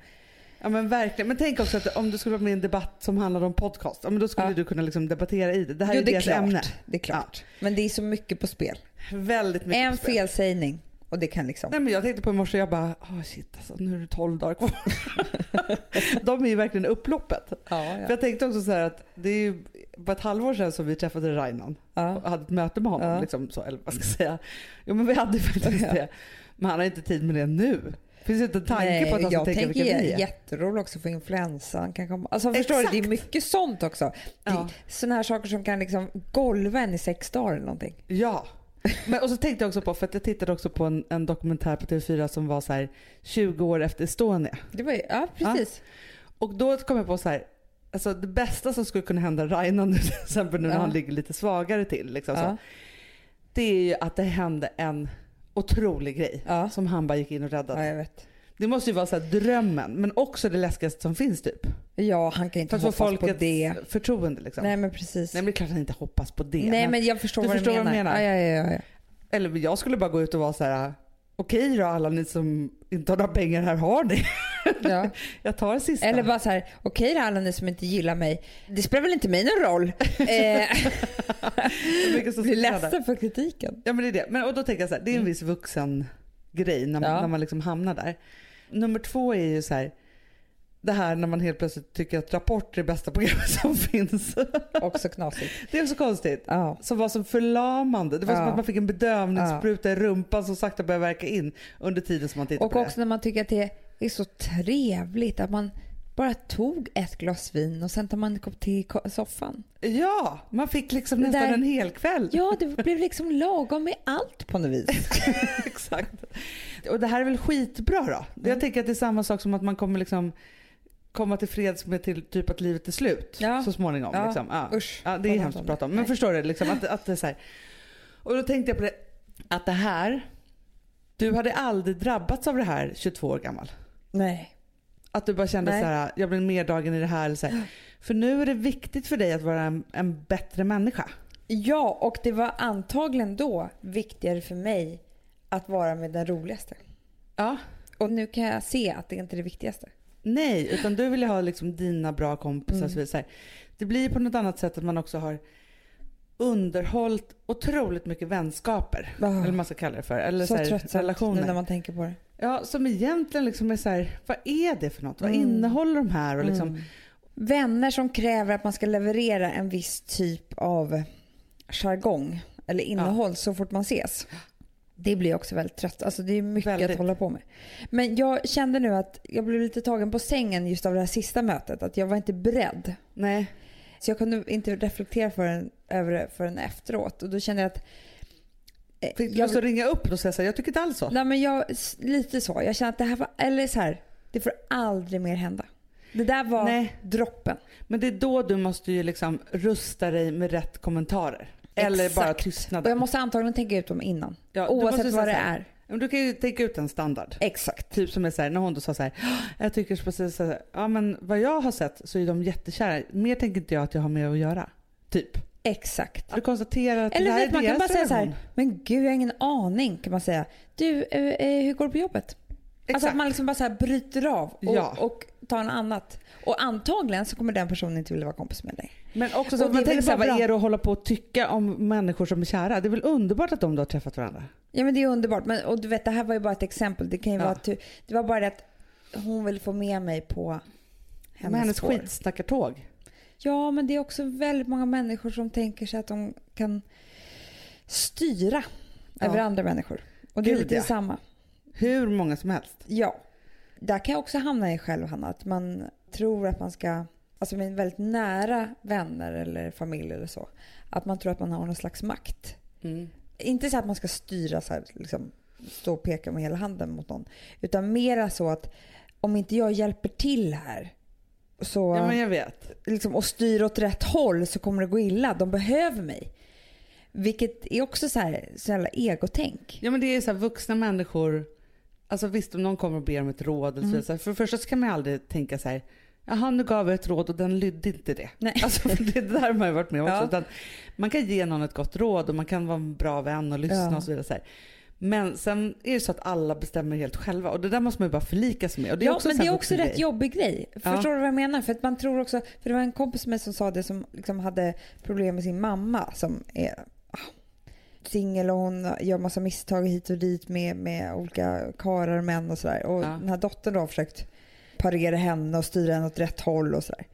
S1: Ja, men verkligen. Men tänk också att om du skulle vara med i en debatt som handlade om podcast. Ja, men då skulle
S2: Ja.
S1: du kunna liksom debattera i det. Det här
S2: Jo,
S1: är
S2: det är
S1: deras
S2: klart.
S1: ämne.
S2: Det är klart. Men det är så mycket på spel.
S1: Väldigt mycket
S2: en
S1: på spel.
S2: felsägning och det kan liksom...
S1: Nej, men jag tänkte på i morse, jag bara oh, shit alltså, nu är det 12 dagar kvar. de är ju verkligen upploppet.
S2: Ja,
S1: För jag tänkte också så här att det är ju bara ett halvår sedan som vi träffade Rainon.
S2: ja.
S1: och hade ett möte med honom.
S2: Ja.
S1: Liksom, så, eller vad ska jag säga. Jo men vi hade ju faktiskt
S2: Ja.
S1: det. Men han har inte tid med det nu. Finns inte en tanke
S2: Nej,
S1: på att han ska
S2: jag
S1: tänka
S2: tänker
S1: vilka vi
S2: jä-
S1: är.
S2: jätteroligt också för influensan kan komma. Alltså förstår du, det är
S1: Exakt.
S2: mycket sånt också.
S1: Ja.
S2: Ja. Sådana här saker som kan liksom golva en i sex dagar eller någonting.
S1: Ja. Men, och så tänkte jag också på, för att jag tittade också på en, en dokumentär på TV4 som var så här 20 år efter Estonia.
S2: Det var ju, ja precis.
S1: Och då kom jag på så här, alltså det bästa som skulle kunna hända Rainon nu till exempel nu när
S2: Ja.
S1: han ligger lite svagare till. Liksom,
S2: Ja.
S1: så, det är ju att det hände en otrolig grej
S2: Ja.
S1: som han bara gick in och räddade.
S2: ja, jag vet.
S1: Det måste ju vara så här drömmen men också det läskigaste som finns typ.
S2: Ja, han kan
S1: För
S2: inte
S1: att få
S2: hoppas på
S1: folkets
S2: det.
S1: förtroende liksom. Nej.
S2: Nej men precis.
S1: men det är klart att han inte hoppas på det.
S2: Nej,
S1: men...
S2: men jag förstår,
S1: Du
S2: vad,
S1: förstår
S2: du
S1: vad jag
S2: menar.
S1: menar.
S2: Ja, ja, ja, ja.
S1: Eller jag skulle bara gå ut och vara så här. okej då alla ni som inte har några pengar, här har ni.
S2: Ja.
S1: Jag tar det sista.
S2: Eller bara så här, okej då alla ni som inte gillar mig, det spelar väl inte mig någon roll. Eh,
S1: Hur mycket som
S2: blir
S1: skulle hända.
S2: ledsen för kritiken.
S1: Ja men det är det. Men, och då tänker jag så här, det är en viss vuxen grej när man,
S2: Mm. Ja.
S1: när man liksom hamnar där. Nummer två är ju så här. Det här när man helt plötsligt tycker att Rapport är det bästa programmet som finns.
S2: Också knasigt.
S1: Det är så konstigt.
S2: Ja.
S1: som var som förlamande. Det var som
S2: Ja.
S1: att man fick en bedövningsspruta i rumpan som sakta började verka in under tiden som man tittade
S2: Och
S1: på
S2: också när man tycker att det är så trevligt att man bara tog ett glas vin och sen tar man en kopp te i ko- soffan.
S1: Ja, man fick liksom
S2: Det
S1: nästan
S2: där-
S1: en hel kväll.
S2: Ja, det blev liksom lagom med allt på något vis.
S1: Exakt. Och det här är väl skitbra då?
S2: Mm.
S1: Jag tänker att det är samma sak som att man kommer liksom komma till freds med till typ att livet är slut
S2: Ja.
S1: så småningom.
S2: Ja.
S1: Liksom. Ja.
S2: Usch,
S1: Ja, det
S2: prata
S1: är
S2: inte
S1: hemskt
S2: om
S1: att
S2: det.
S1: prata om. Men
S2: Nej.
S1: förstår du? Liksom, att, att det är så här. Och då tänkte jag på det, att det här, du hade aldrig drabbats av det här 22 år gammal.
S2: Nej.
S1: Att du bara kände
S2: Nej.
S1: så här, jag blir meddagen i det här. Eller så här. För nu är det viktigt för dig att vara en, en bättre människa.
S2: Ja, och det var antagligen då viktigare för mig att vara med den roligaste.
S1: Ja.
S2: Och nu kan jag se att det inte är det viktigaste.
S1: Nej, utan du vill ju ha liksom dina bra kompisar. och Så
S2: Mm.
S1: vidare. Så här. Det blir ju på något annat sätt att man också har underhållit otroligt mycket vänskaper.
S2: Ah.
S1: Eller vad man ska kalla det för. Eller så
S2: så
S1: här,
S2: tröttsamt nu
S1: relationer.
S2: när man tänker på det.
S1: Ja, som egentligen liksom är så här, vad är det för något? Vad
S2: Mm.
S1: innehåller de här? Och liksom,
S2: Vänner som kräver att man ska leverera en viss typ av jargong eller innehåll så fort man ses. Det blir också väldigt trött. Alltså det är mycket
S1: Väldigt.
S2: att hålla på med. Men jag kände nu att jag blev lite tagen på sängen just av det här sista mötet. Att jag var inte beredd.
S1: Nej,
S2: Så jag kunde inte reflektera förrän, över det förrän efteråt. Och då kände jag att... eh,
S1: fick du
S2: jag-
S1: lust att ringa upp och säga så här, jag tycker inte alls så.
S2: Nej men jag, s- lite så. Jag kände att det här var, eller så här, det får aldrig mer hända. Det där var
S1: Nej.
S2: droppen.
S1: Men det är då du måste ju liksom rusta dig med rätt kommentarer. Eller
S2: Exakt.
S1: bara
S2: Och jag
S1: tystnaden.
S2: måste antagligen tänka ut dem innan.
S1: Ja, du måste
S2: Oavsett
S1: säga
S2: vad det
S1: så här.
S2: är.
S1: Men Du kan ju tänka ut en standard.
S2: Exakt.
S1: Typ som är såhär, när hon då sa såhär, jag tycker precis så här, ja men vad jag har sett så är de jättekära. Mer tänker inte jag att jag har med att göra. Typ.
S2: Exakt.
S1: Du konstaterar att det
S2: Eller
S1: här
S2: vet,
S1: är
S2: man kan
S1: deras
S2: bara säga så här,
S1: ögon.
S2: men gud jag har ingen aning kan man säga. Du, eh, eh, hur går det på jobbet? Alltså
S1: Exakt.
S2: att man liksom bara så här bryter av och,
S1: Ja.
S2: och tar en annat. Och antagligen så kommer den personen inte vilja vara kompis med dig.
S1: Men också så att
S2: Och det
S1: man
S2: är väl
S1: tänker såhär,
S2: bara
S1: vad
S2: bra.
S1: är det att hålla på och tycka om människor som är kära? Det är väl underbart att de då har träffat varandra?
S2: Ja men det är underbart. Men, och du vet det här var ju bara ett exempel. Det kan ju
S1: Ja.
S2: vara att du, det var bara det att hon ville få med mig på
S1: Hennes
S2: hennes,
S1: men hennes
S2: spår.
S1: skitsnackartåg.
S2: Ja men det är också väldigt många människor som tänker sig att de kan styra
S1: Ja.
S2: över andra människor. Och det är
S1: Gud,
S2: lite
S1: ja.
S2: samma.
S1: Hur många som helst.
S2: Ja. Där kan jag också hamna i själv Hanna, att man tror att man ska, alltså med väldigt nära vänner eller familj eller så, att man tror att man har någon slags makt.
S1: Mm.
S2: Inte så att man ska styra så här, liksom, stå och peka med hela handen mot någon. Utan mera så att om inte jag hjälper till här så,
S1: Ja men jag vet.
S2: liksom, och styr åt rätt håll så kommer det gå illa. De behöver mig. Vilket är också så här, så jävla egotänk.
S1: Ja men det är såhär vuxna människor, alltså visst om någon kommer och ber om ett råd eller så, vidare, så här, för det första så kan man ju aldrig tänka så här. Jaha nu gav jag ett råd och den lydde inte det.
S2: Nej.
S1: Alltså, för det där har man ju varit med om också.
S2: Ja.
S1: Utan man kan ge någon ett gott råd och man kan vara en bra vän och lyssna
S2: Ja.
S1: och så vidare. Så här. Men sen är det så att alla bestämmer helt själva och det där måste man ju bara förlika sig med. Och det är
S2: Ja,
S1: också
S2: men
S1: så
S2: det
S1: här
S2: är också
S1: vuxen
S2: rätt
S1: grej.
S2: jobbig grej.
S1: Ja.
S2: Förstår du vad jag menar? För att man tror också, för det var en kompis med som sa det som liksom hade problem med sin mamma som är ah, singel och hon gör massa misstag hit och dit med, med olika karar och män och sådär. Och
S1: Ja.
S2: den här dottern då har försökt parera henne och styra henne åt rätt håll och sådär.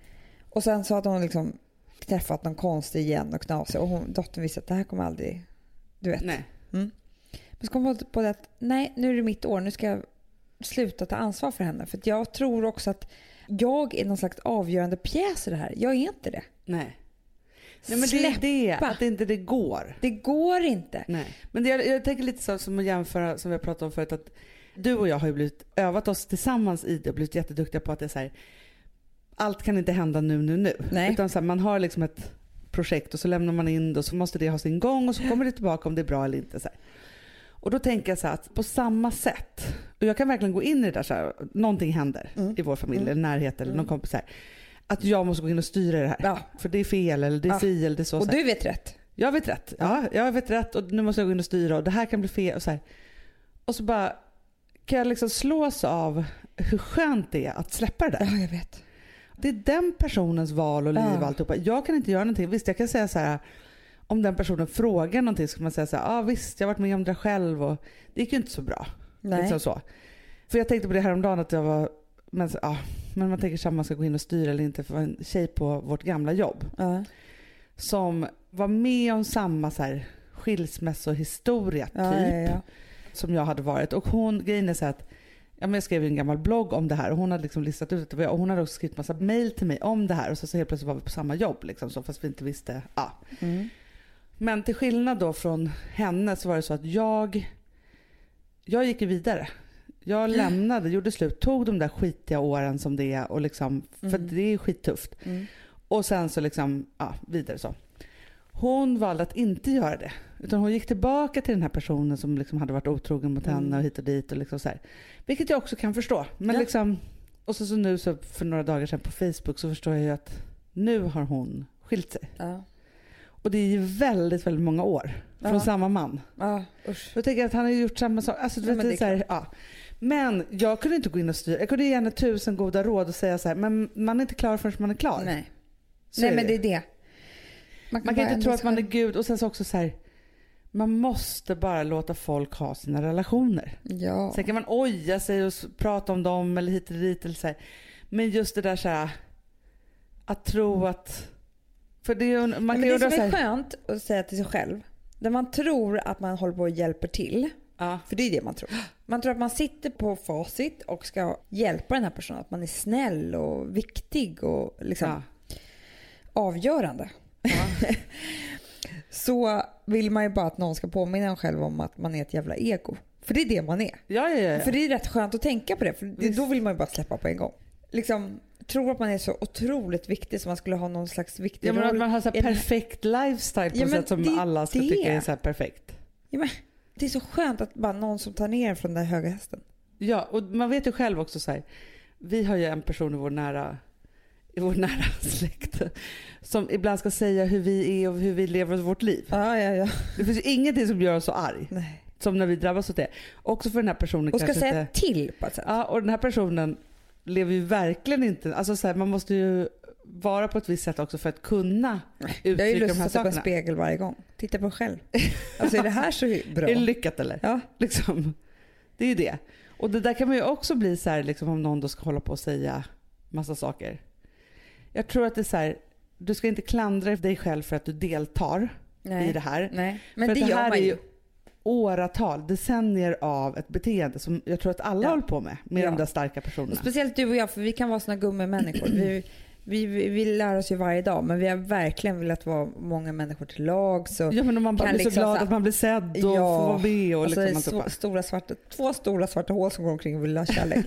S2: Och sen så hade hon liksom träffat någon konstig igen och knasig och hon, dottern visste att det här kommer aldrig, du vet.
S1: Nej.
S2: Men så kom jag på det att nej, nu är det mitt år. Nu ska jag sluta ta ansvar för henne. För att jag tror också att jag är någon slags avgörande pjäs i det här. Jag är inte det.
S1: Nej. Nej men
S2: Släppa.
S1: det är det, att inte det går.
S2: Det går inte.
S1: Nej. Men det, jag, jag tänker lite så som att jämföra, som vi har pratat om förut, att du och jag har ju blivit, övat oss tillsammans i det och blivit jätteduktiga på att det är så här, allt kan inte hända nu, nu, nu.
S2: Nej.
S1: Utan så här, man har liksom ett projekt och så lämnar man in det och så måste det ha sin gång och så kommer det tillbaka om det är bra eller inte. Så här. Och då tänker jag så här att på samma sätt, och jag kan verkligen gå in i det där så här, någonting händer i vår familj
S2: Mm.
S1: eller närhet eller någon kompis så här, att jag måste gå in och styra det här.
S2: Ja.
S1: För det är fel eller det är
S2: Ja.
S1: si eller det är så. så
S2: Och
S1: här.
S2: du vet rätt.
S1: Jag vet rätt. Ja, jag vet rätt och nu måste jag gå in och styra och det här kan bli fel. Och så, här. Och så bara kan jag liksom slås av hur skönt det är att släppa det
S2: Ja,
S1: där.
S2: jag vet.
S1: Det är den personens val och liv
S2: Ja.
S1: och alltihopa. Jag kan inte göra någonting. Visst jag kan säga så här om den personen frågar någonting så kan man säga så här, ah, visst jag har varit med om det där själv och det gick ju inte så bra.
S2: Nej.
S1: Liksom så. För jag tänkte på det häromdagen att jag var, men, så, ah, men man tänker så här, man ska gå in och styra eller inte. För det var en tjej på vårt gamla jobb
S2: Ja.
S1: som var med om samma så här, skilsmässohistoria typ
S2: Ja, ja, ja.
S1: som jag hade varit. Och hon, grejen är så här att ja, men jag skrev ju en gammal blogg om det här och hon hade liksom listat ut att det var jag. Och hon hade också skrivit massa mail till mig om det här och så, så helt plötsligt var vi på samma jobb liksom så, fast vi inte visste. Ja.
S2: Mm.
S1: Men till skillnad då från henne så var det så att jag, jag gick ju vidare. Jag lämnade, gjorde slut, tog de där skitiga åren som det är och liksom, för
S2: Mm.
S1: det är ju skittufft.
S2: Mm.
S1: Och sen så liksom, ja, vidare så. Hon valde att inte göra det. Utan hon gick tillbaka till den här personen som liksom hade varit otrogen mot
S2: Mm.
S1: henne och hit och dit. Och liksom så här. Vilket jag också kan förstå. Men
S2: Ja.
S1: liksom, och så, så nu så för några dagar sedan på Facebook så förstår jag ju att nu har hon skilt sig.
S2: Ja.
S1: Och det är ju väldigt, väldigt många år från
S2: Ja.
S1: samma man.
S2: Ja, usch.
S1: Jag tänker att han har gjort samma sak. Alltså, du
S2: Ja,
S1: vet,
S2: men
S1: men, det är så här, ja. men jag kunde inte gå in och styra. Jag kunde ge henne tusen goda råd och säga så här, men man är inte klar förrän man är klar.
S2: Nej.
S1: Så
S2: Nej,
S1: är
S2: men
S1: det.
S2: det är det.
S1: Man kan
S2: bara
S1: inte tro
S2: ändra
S1: att
S2: sig
S1: man är
S2: själv.
S1: gud. Och sen så också så här, man måste bara låta folk ha sina relationer.
S2: Ja.
S1: Sen kan man oja sig och s- prata om dem eller hit och dit. Eller så här. Men just det där så här, att tro att... För det är ju, en- man
S2: Nej,
S1: kan
S2: men
S1: ju
S2: det som
S1: undra så
S2: är
S1: här,
S2: skönt att säga till sig själv, när man tror att man håller på och hjälper till,
S1: ja,
S2: för det är det man tror. Man tror att man sitter på facit och ska hjälpa den här personen, att man är snäll och viktig och liksom
S1: ja,
S2: avgörande. Så vill man ju bara att någon ska påminna en själv om att man är ett jävla ego. För det är det man är.
S1: ja, ja, ja,
S2: För
S1: ja.
S2: det är rätt skönt att tänka på det, för det,
S1: Visst.
S2: då vill man ju bara släppa på en gång. Liksom, tror att man är så otroligt viktig så man skulle ha någon slags viktig
S1: ja men att
S2: roll.
S1: man har så här
S2: Är det-
S1: perfekt lifestyle på
S2: Ja,
S1: ett
S2: men
S1: sätt som
S2: det är
S1: alla ska
S2: det.
S1: tycka är så här perfekt.
S2: Det är så skönt att bara någon som tar ner en från den där höga hästen.
S1: Ja, och man vet ju själv också så här. Vi har ju en person i vår nära, i vår nära släkt som ibland ska säga hur vi är och hur vi lever vårt liv.
S2: Ja, ja, ja.
S1: Det finns ju ingenting som gör oss så arg
S2: Nej.
S1: som när vi drabbas åt det. Också för den här personen
S2: Och ska
S1: kanske
S2: säga
S1: inte...
S2: till på ett sätt.
S1: Ja, och den här personen lever ju verkligen inte... Alltså så här, man måste ju vara på ett visst sätt också för att kunna
S2: jag har ju
S1: uttrycka de
S2: lust
S1: här
S2: att sätta på en
S1: sakerna.
S2: spegel varje gång. Titta på dig själv. Alltså är det här så bra?
S1: Är det lyckat eller?
S2: Ja.
S1: Liksom. Det är ju det. Och det där kan man ju också bli så här, liksom, om någon då ska hålla på och säga massa saker. Jag tror att det är så här, du ska inte klandra dig själv för att du deltar i det här.
S2: Nej. Men
S1: för
S2: det
S1: att
S2: gör
S1: här
S2: man
S1: är
S2: ju.
S1: åratal, decennier av ett beteende som jag tror att alla
S2: Ja.
S1: håller på med, med
S2: Ja.
S1: de där starka
S2: Och
S1: personerna.
S2: speciellt du och jag, för vi kan vara såna gummimänniskor. Vi, vi, vi, vi lär oss ju varje dag, men vi har verkligen velat vara många människor till lag. Så,
S1: Ja men om man bara
S2: kan
S1: blir så
S2: liksom
S1: glad
S2: så-
S1: att man blir sedd och
S2: Ja.
S1: får vara med och
S2: alltså,
S1: liksom
S2: det är
S1: alltihopa.
S2: så, stora svarta, två stora svarta hål som går omkring och vill ha kärlek.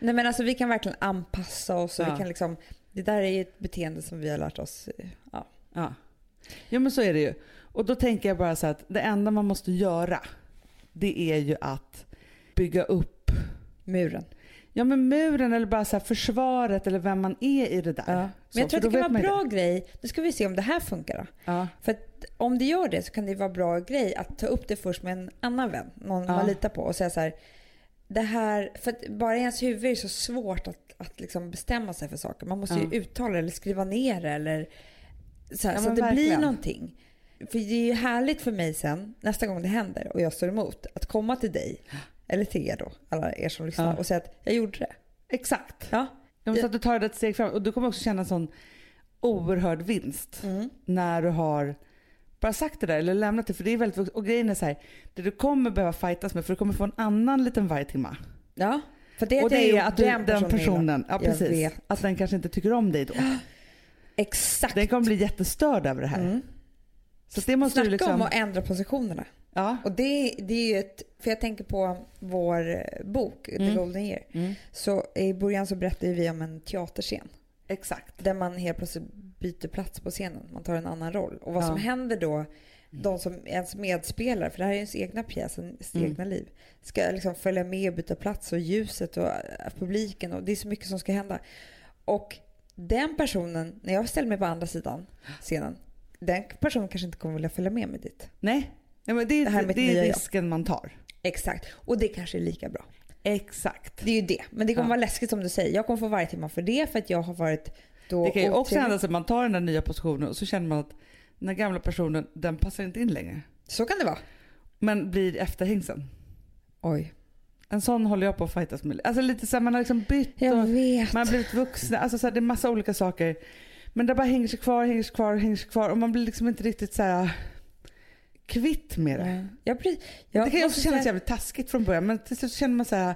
S2: Nej, men alltså, vi kan verkligen anpassa oss. Och
S1: Ja.
S2: vi kan liksom, det där är ju ett beteende som vi har lärt oss. Ja.
S1: Ja. ja men så är det ju. Och då tänker jag bara så här att det enda man måste göra det är ju att bygga upp
S2: Muren.
S1: ja, men muren eller bara så här försvaret eller vem man är i det där.
S2: Ja. Men
S1: Så,
S2: jag tror
S1: för
S2: att
S1: då
S2: det
S1: vet
S2: kan vara
S1: man
S2: en
S1: ju
S2: bra grej. Nu ska vi se om det här funkar då.
S1: Ja.
S2: För att om det gör det så kan det vara en bra grej att ta upp det först med en annan vän. Någon
S1: Ja.
S2: man litar på och säga så här. Det här, för att bara i ens huvud är det så svårt att, att liksom bestämma sig för saker. Man måste
S1: Ja.
S2: ju uttala det eller skriva ner det eller så, här,
S1: Ja,
S2: så
S1: men
S2: att det blir
S1: verkligen.
S2: någonting. För det är ju härligt för mig sen nästa gång det händer och jag står emot att komma till dig eller till er då, alla er som lyssnar
S1: Ja.
S2: och säga att jag gjorde det.
S1: Exakt.
S2: Ja.
S1: Ja, men så att du tar det ett steg fram och du kommer också känna en sån oerhörd vinst
S2: Mm.
S1: när du har bara sagt det där eller lämnat det. För det är väldigt, och grejen är så här, det du kommer behöva fightas med för du kommer få en annan liten vargtimma.
S2: ja. För det,
S1: Och
S2: jag
S1: det
S2: gjort
S1: är att du, den personen, ja,
S2: Jag
S1: precis,
S2: vet.
S1: att den kanske inte tycker om dig då.
S2: Exakt.
S1: Den kommer bli jättestörd över det här.
S2: Mm.
S1: Så det måste
S2: Snacka
S1: du liksom...
S2: om att ändra positionerna.
S1: Ja.
S2: Och det, det är ju ett, för jag tänker på vår eh, bok The
S1: Mm.
S2: Golden Year. Så i början så berättade vi om en teaterscen
S1: Exakt.
S2: där man helt plötsligt byter plats på scenen. Man tar en annan roll. Och vad
S1: Ja.
S2: som händer då, de som ens medspelare, för det här är ens egna pjäs, ens
S1: Mm.
S2: egna liv, ska liksom följa med och byta plats och ljuset och eh, publiken och det är så mycket som ska hända. Och den personen, när jag ställer mig på andra sidan scenen, den personen kanske inte kommer vilja följa med mig dit.
S1: Nej, Nej men det är,
S2: Det
S1: det
S2: här med ett nya
S1: är
S2: jag.
S1: risken man tar.
S2: Exakt. Och det kanske är lika bra.
S1: Exakt.
S2: Det är ju det. Men det kommer
S1: Ja.
S2: vara läskigt som du säger. Jag kommer få varje timma för det för att jag har varit då
S1: Det kan ju också
S2: otrevlig.
S1: hända sig att man tar den där nya positionen och så känner man att den här gamla personen, den passar inte in längre.
S2: Så kan det vara.
S1: Men blir efterhängsen.
S2: Oj.
S1: En sån håller jag på att fightas med. Alltså lite så här, man har liksom bytt
S2: Jag
S1: och
S2: vet.
S1: man har blivit vuxen. Alltså så här, det är massa olika saker. Men det bara hänger sig kvar, hänger sig kvar, hänger sig kvar och man blir liksom inte riktigt så här kvitt med det.
S2: Ja, precis. Jag
S1: det kan ju
S2: måste
S1: också kännas
S2: säga-
S1: jävligt taskigt från början men till slut så känner man så här,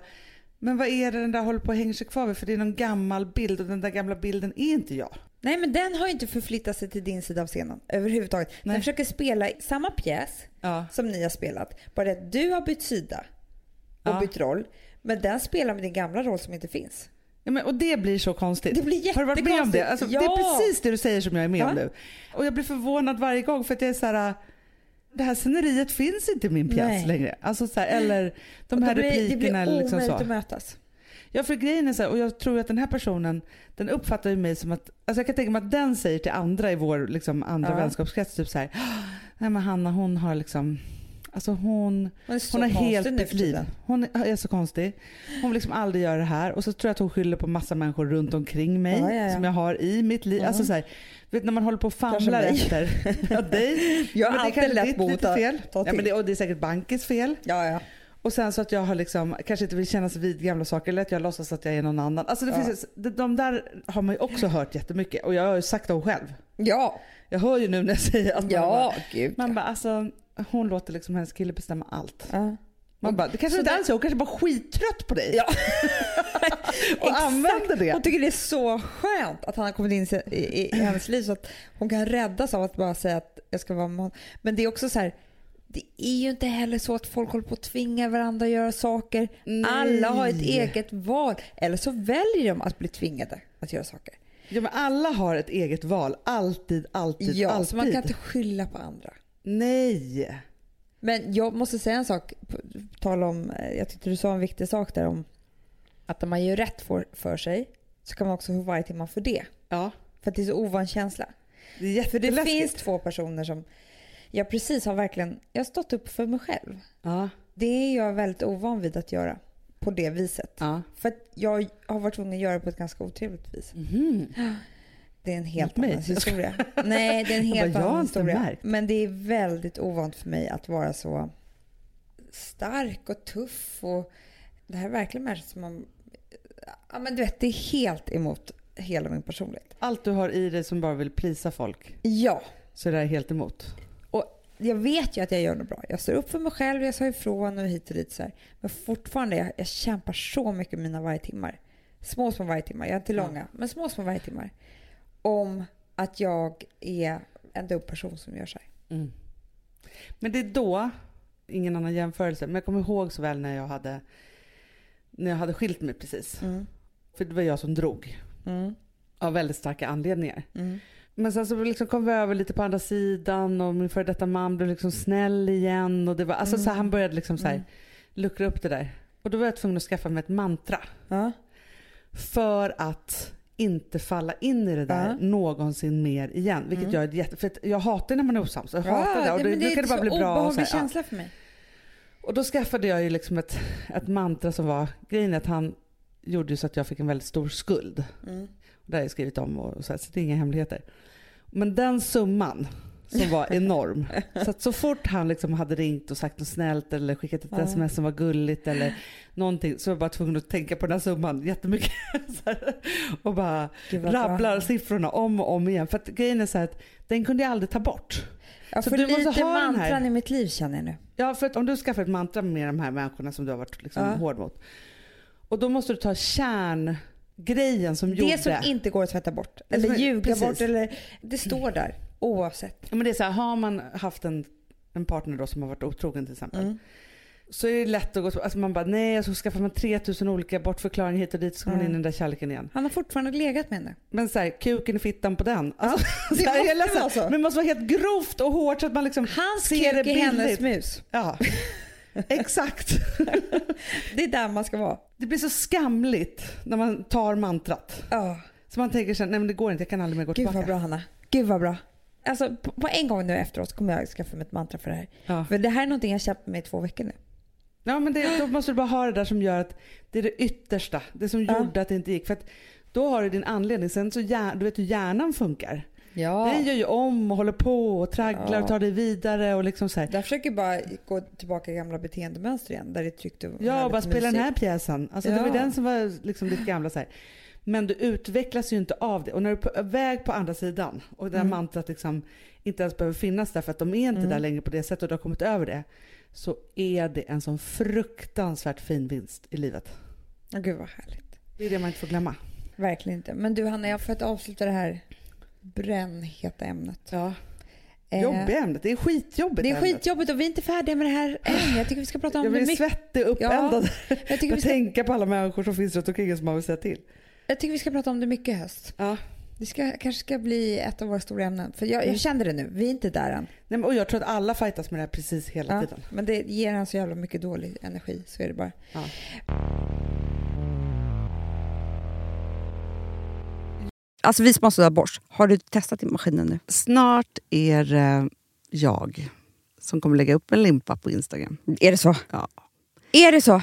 S1: Men vad är det den där håller på och hänger sig kvar vid? För det är någon gammal bild och den där gamla bilden är inte jag.
S2: Nej men den har ju inte förflyttat sig till din sida av scenen överhuvudtaget. Den
S1: Nej.
S2: försöker spela i samma pjäs
S1: Ja.
S2: som ni har spelat. Bara att du har bytt sida och
S1: Ja.
S2: bytt roll. Men den spelar med din gamla roll som inte finns.
S1: Ja, men, och det blir så konstigt.
S2: Det blir
S1: Har du varit med om det?
S2: jättekonstigt.
S1: Alltså, Det
S2: Ja.
S1: är precis det du säger som jag är med
S2: Ja.
S1: om nu. Och jag blir förvånad varje gång för att jag är så här. äh, Det här sceneriet finns inte i min pjäs
S2: Nej.
S1: längre. Alltså, så här, eller de
S2: Och
S1: här
S2: då blir,
S1: replikerna.
S2: det blir
S1: eller liksom så.
S2: omöjligt att mötas.
S1: Ja för grejen är så här, och jag tror att den här personen, den uppfattar ju mig som att, alltså jag kan tänka mig att den säger till andra i vår liksom, andra
S2: Ja.
S1: vänskapskrets typ så här, "Ah, nej men Hanna hon har liksom, alltså hon,
S2: Hon är så
S1: hon har
S2: konstig
S1: helt
S2: nu
S1: nytt
S2: för
S1: liv.
S2: tiden.
S1: Hon är är så konstig. Hon vill liksom aldrig göra det här. Och så tror jag att hon skyller på massa människor runt omkring mig
S2: Ja, ja, ja.
S1: som jag har i mitt liv.
S2: Ja.
S1: Alltså så här, du vet när man håller på och
S2: Kanske
S1: famlar
S2: mig.
S1: efter. ja, dig.
S2: Jag har
S1: Men det är
S2: alltid
S1: kanske
S2: lätt
S1: ditt
S2: mot
S1: lite
S2: att
S1: fel.
S2: ta
S1: Ja,
S2: till.
S1: men det, och det är säkert bankens fel.
S2: Ja, ja.
S1: Och sen så att jag har liksom, kanske inte vill kännas vid gamla saker eller att jag låtsas att jag är någon annan. Alltså det
S2: Ja.
S1: finns, de, de där har man ju också hört jättemycket och jag har ju sagt dem själv.
S2: Ja,
S1: Jag hör ju nu när jag säger att man bara,
S2: ja gud.
S1: man bara alltså hon låter liksom hennes kille bestämma allt.
S2: ja.
S1: Man bara, det kanske
S2: Så
S1: inte
S2: där-
S1: alls är, hon kanske bara är skittrött på dig.
S2: Ja.
S1: och använder det.
S2: Hon tycker det är så skönt att han har kommit in i- i, i hennes liv så att hon kan räddas av att bara säga att jag ska vara med honom. Men det är också så här, det är ju inte heller så att folk håller på att tvinga varandra att göra saker.
S1: Nej.
S2: Alla har ett eget val. Eller så väljer de att bli tvingade att göra saker.
S1: Ja men alla har ett eget val. Alltid, alltid,
S2: Ja,
S1: Typ alltid.
S2: så man kan typ- inte skylla på andra.
S1: Nej.
S2: Men jag måste säga en sak. på Tal om, eh, jag tyckte du sa en viktig sak där om att när man gör rätt för, för sig så kan man också få varje timma för det.
S1: Ja,
S2: För att det är så ovan känsla.
S1: det är
S2: För det
S1: jätteläskigt.
S2: finns två personer som jag precis har verkligen, jag har stått upp för mig själv.
S1: Ja,
S2: Det är jag väldigt ovan vid att göra på det viset.
S1: ja.
S2: För att jag har varit tvungen att göra det på ett ganska otrevligt vis.
S1: Mhm.
S2: Det är en helt
S1: Mot mig?
S2: annan historia. Nej, det är en
S1: Jag
S2: helt
S1: bara, jag har
S2: annan
S1: inte
S2: historia.
S1: märkt.
S2: Men det är väldigt ovant för mig att vara så stark och tuff. Och det här är verkligen människor som man... Ja, men du vet, det är helt emot hela min personlighet.
S1: Allt du har i dig som bara vill plisa folk
S2: Ja,
S1: så är det här helt emot.
S2: och jag vet ju att jag gör något bra. Jag står upp för mig själv, jag sa ifrån och hit och dit. Så här. Men fortfarande, jag, jag kämpar så mycket med mina varje timmar. Små små varje timmar. Jag är inte
S1: Ja.
S2: långa, men små små varje timmar. Om att jag är en dum person som gör så här.
S1: Mm. Men det är då, ingen annan jämförelse, men jag kommer ihåg så väl när jag hade, när jag hade skilt mig precis.
S2: Mm.
S1: För det var jag som drog
S2: Mm.
S1: av väldigt starka anledningar.
S2: Mm.
S1: Men sen så liksom kom vi över lite på andra sidan och min före detta man blev liksom snäll igen. Och det var, alltså så här, han började liksom så här, luckra upp det där. Och då var jag tvungen att skaffa mig ett mantra
S2: Ja.
S1: för att inte falla in i det där
S2: Ja. Mm.
S1: någonsin mer igen. Vilket jag är ett jätte... För att jag hatar när man är osams. Jag hatar det. Och
S2: men
S1: det,
S2: är
S1: då kan det
S2: så
S1: bara bli bra. Och så
S2: obehaglig
S1: här, ja.
S2: känsla för mig.
S1: Och då skaffade jag ju liksom ett, ett mantra som var, grejen är att han gjorde ju så att jag fick en väldigt stor skuld.
S2: Mm.
S1: Och det har jag skrivit om och, och så, här, så det är inga hemligheter. Men den summan som var enorm. så att så fort han liksom hade ringt och sagt något snällt eller skickat ett
S2: Ja.
S1: sms som var gulligt eller någonting så var jag bara tvungen att tänka på den här summan jättemycket. så här, och bara
S2: Gud, vad bra.
S1: rabblar siffrorna om och om igen. För att grejen är så här att den kunde jag aldrig ta bort.
S2: Ja,
S1: Så
S2: för
S1: du
S2: lite
S1: måste ha den här.
S2: mantran i mitt liv känner jag nu.
S1: Ja, för att om du skaffar ett mantra med de här människorna som du har varit liksom
S2: Ja.
S1: hård mot. Och då måste du ta kärngrejen som gjorde...
S2: Det som inte går att tvätta bort.
S1: Det som
S2: Eller
S1: är-
S2: ljuga
S1: precis.
S2: bort. Eller, det står där oavsett.
S1: Ja, men det är så här, har man haft en, en partner då som har varit otrogen till exempel.
S2: Mm.
S1: Så är det lätt att gå alltså man bara nej och så skaffar man 3000 olika bortförklaringar hit och dit så kommer man
S2: Mm.
S1: in i den där kärleken igen.
S2: Han har fortfarande legat med henne.
S1: Men så här, kuken i fittan på den. Alltså,
S2: det
S1: så här, jag är
S2: måste
S1: ledsen,
S2: vara så.
S1: Men det måste vara helt grovt och hårt så att man liksom,
S2: Hans
S1: Ser det
S2: kuk är hennes
S1: bildligt.
S2: mus.
S1: ja. Exakt.
S2: Det är där man ska vara.
S1: Det blir så skamligt när man tar mantrat.
S2: Ja.
S1: Så man tänker sen, nej men det går inte, jag kan aldrig mer gå
S2: Gud vad
S1: tillbaka.
S2: bra Hanna. Gud vad bra. Alltså, på, på en gång nu efteråt så kommer jag skaffa mig ett mantra för det här.
S1: Ja.
S2: För det här är någonting jag har kämpat med i två veckor nu.
S1: Ja, men det, då måste du bara ha det där som gör att det är det yttersta. Det som
S2: Ja.
S1: gjorde att det inte gick. För att då har du din anledning. Sen så hjär, du vet hur hjärnan funkar.
S2: Ja.
S1: Den gör ju om och håller på och tragglar
S2: Ja.
S1: och tar dig vidare och liksom så här.
S2: Jag försöker bara gå tillbaka i gamla beteendemönster igen där det är tryggt och
S1: Ja, och
S2: härligt
S1: bara
S2: och
S1: spela den
S2: mysigt.
S1: här pjäsen. Alltså det var ju
S2: Ja.
S1: den som var liksom ditt gamla så här. Men du utvecklas ju inte av det. Och när du är på väg på andra sidan och det här
S2: Mm.
S1: mantrat liksom inte ens behöver finnas där för att de är inte
S2: Mm.
S1: där längre på det sättet och du har kommit över det. Så är det en sån fruktansvärt fin vinst i livet.
S2: Åh, Gud vad härligt.
S1: Det är det man inte får glömma.
S2: Verkligen inte. Men du Hanna, jag för att avsluta det här brännheta ämnet.
S1: Ja.
S2: Eh,
S1: Jobbiga ämnet. Det är skitjobbigt
S2: Det är
S1: ämnet.
S2: skitjobbigt och vi är inte färdiga med det här än. Jag tycker vi ska prata om
S1: Jag
S2: det
S1: blir
S2: mycket.
S1: svettig och uppändad.
S2: Jag tycker,
S1: Jag
S2: vi ska,
S1: tänker på alla människor som finns runt omkring oss som man vill säga till.
S2: jag tycker vi ska prata om det mycket i höst.
S1: Ja.
S2: Det ska, kanske ska bli ett av våra stora ämnen. För jag, jag kände det nu, vi är inte där än.
S1: Nej, men, och jag tror att alla fightas med det här precis hela
S2: Ja,
S1: tiden.
S2: men det ger en så jävla mycket dålig energi, så är det bara.
S1: Ja.
S4: Alltså vi som har sådär borst, har du testat i maskinen nu?
S3: Snart är eh, jag som kommer lägga upp en limpa på Instagram.
S4: Är det så?
S3: Ja.
S4: Är det så?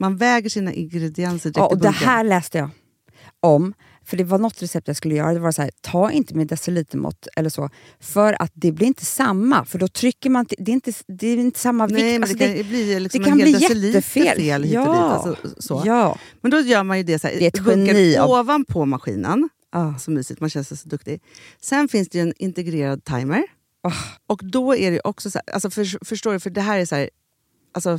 S3: man väger sina ingredienser direkt
S4: Ja,
S3: i
S4: och det
S3: bunken.
S4: här läste jag om. För det var något recept jag skulle göra. Det var så här, ta inte med decilitermått eller så. För att det blir inte samma. För då trycker man... till- Det är inte, det är inte samma
S3: Nej, men
S4: vikt. Alltså,
S3: det kan ju bli liksom
S4: det kan
S3: en hel
S4: bli
S3: deciliter
S4: jättefel.
S3: fel hit och dit, alltså, så.
S4: Ja.
S3: Men då gör man ju det så här,
S4: Det är ett
S3: dunkar
S4: geni av-
S3: ovanpå maskinen.
S4: Ah.
S3: Så mysigt, man känns så duktig. Sen finns det ju en integrerad timer.
S4: Ah.
S3: Och då är det ju också så här, alltså för, förstår du, för det här är så här, alltså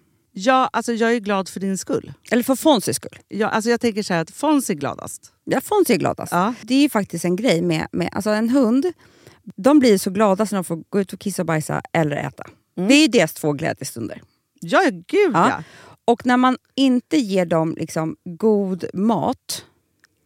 S3: Ja, alltså jag är glad för din skull.
S4: Eller för Fonzys skull.
S3: Ja, alltså jag tänker så här att Fons är gladast.
S4: Ja, Fonzie är gladast.
S3: Ja.
S4: Det är ju faktiskt en grej med, med alltså en hund. De blir så glada när de får gå ut och kissa och bajsa eller äta.
S3: Mm.
S4: Det är ju deras två glädjestunder.
S3: Ja, gud ja.
S4: Och när man inte ger dem liksom god mat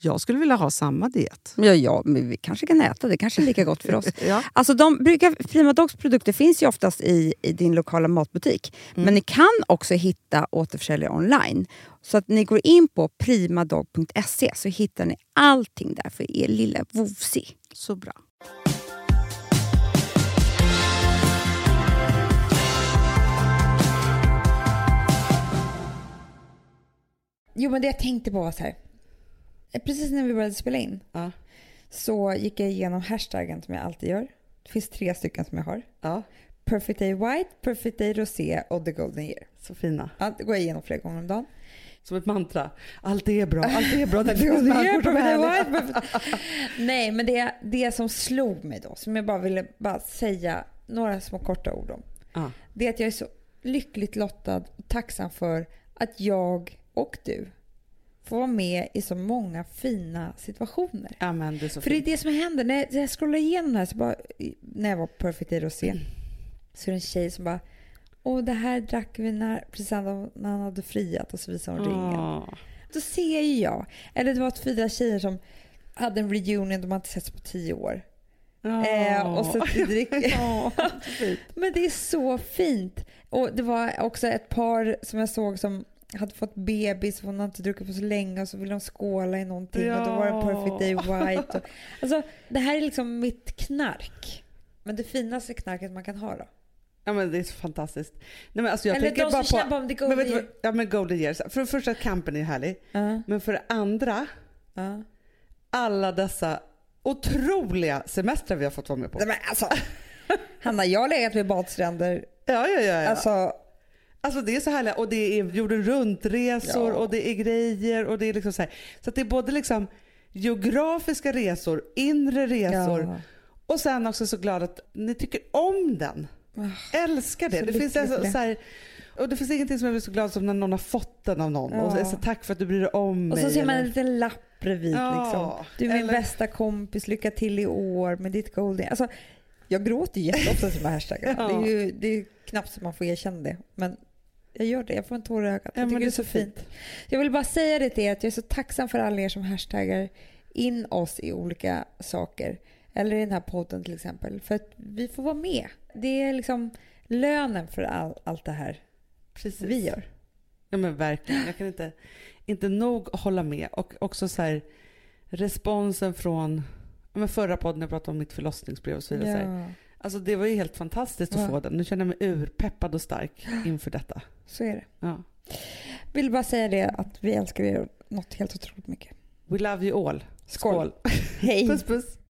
S3: Jag skulle vilja ha samma diet.
S4: ja, ja, men vi kanske kan äta. Det kanske är lika gott för oss.
S3: Ja.
S4: Alltså de brukar, Prima Dogs produkter finns ju oftast i, i din lokala matbutik.
S3: Mm.
S4: Men ni kan också hitta återförsäljare online. Så att ni går in på primadog.se så hittar ni allting där för er lilla vovsi.
S3: Så bra.
S2: Jo, men det jag tänkte på var så här. Eh, Precis när vi började spela in
S1: Ja.
S2: så gick jag igenom hashtaggen som jag alltid gör. Det finns tre stycken som jag har.
S1: Ja,
S2: Perfect Day White, Perfect Day Rosé och The Golden Year.
S1: så fina.
S2: Ja, det går jag igenom flera gånger om dagen.
S1: Som ett mantra. Allt är bra, allt är bra. Det
S2: The
S1: finns
S2: Golden
S1: människor
S2: Year,
S1: som är
S2: Perfect Day
S1: härliga.
S2: White. Perfect... Nej, men det, det som slog mig då, som jag bara ville bara säga några små korta ord om.
S1: Ja.
S2: Det är att jag är så lyckligt lottad och tacksam för att jag och du får vara med i så många fina situationer.
S1: Ja, men det är så
S2: För det är
S1: fint.
S2: det som händer. När jag- när jag scrollar igenom här, så bara, när jag var på Perfect Day Rosé, så är det en tjej som bara Åh, det här drack vi när, precis när han hade friat och så visar hon ringen.
S1: Ja.
S2: Då ser ju jag. Eller det var fyra tjejer som hade en reunion, de har inte setts på tio år. Eh, och så dricker...
S1: Ja, Ah. fint.
S2: Men det är så fint. Och det var också ett par som jag såg som hade fått bebis och hon har inte druckit på så länge och så ville de skåla i någonting och då var det
S1: Ja.
S2: perfect day white. Och, alltså, det här är liksom mitt knark. Men det finaste knarket man kan ha då.
S1: Ja men det är så fantastiskt. Nej, men alltså jag
S2: Eller
S1: tänker
S2: de
S1: bara
S2: som
S1: på,
S2: kämpar om det
S1: men
S2: goda.
S1: vet du vad- Ja men golden years. För det första att kampen är härlig.
S2: Ja,
S1: Men för det andra,
S2: ja.
S1: alla dessa otroliga semestrar vi har fått vara med på.
S2: Nej, men alltså. Hanna, jag har legat vid badstränder.
S1: Ja, ja, ja. ja. Alltså,
S2: Alltså,
S1: det är så härliga och det är jorden runt-resor
S2: Ja.
S1: och det är grejer och det är liksom så här. Så att det är både liksom geografiska resor, inre resor
S2: ja.
S1: och sen också så glad att ni tycker om den. Älskar det.
S2: Ah, så
S1: Det finns,
S2: lyckligt
S1: alltså,
S2: för det.
S1: så här, och det finns ingenting som jag blir så glad som när någon har fått den av någon.
S2: Ja.
S1: Och så, så, tack för att du bryr dig om
S2: Och
S1: mig.
S2: så ser man
S1: eller-
S2: en liten lapp bredvid.
S1: Ja,
S2: liksom. Du är min
S1: eller-
S2: bästa kompis, lycka till i år med ditt golden. Alltså, jag gråter ju jätteofta till de här hashtaggarna.
S1: Ja.
S2: Det, är ju, det är knappt så man får erkänna det. Men jag gör det, jag får en tår i ögat.
S1: Ja,
S2: jag
S1: men
S2: tycker det är så fint. Jag vill bara säga det till er att jag är så tacksam för alla er som hashtaggar in oss i olika saker. Eller i den här podden till exempel. För att vi får vara med. Det är liksom lönen för all, allt det här
S1: Precis.
S2: vi gör.
S1: Ja men verkligen. Jag kan inte, inte nog hålla med. Och också så här, responsen från ja, men förra podden jag pratade om mitt förlossningsbrev och så vidare. Så här.
S2: Ja,
S1: Alltså det var ju helt fantastiskt att
S2: Ja.
S1: få den. Nu känner jag mig urpeppad och stark inför detta.
S2: så är det.
S1: Ja.
S2: Vill bara säga det att vi älskar er något helt otroligt mycket.
S1: We love you all.
S2: Skål. Hej!
S1: Puss puss.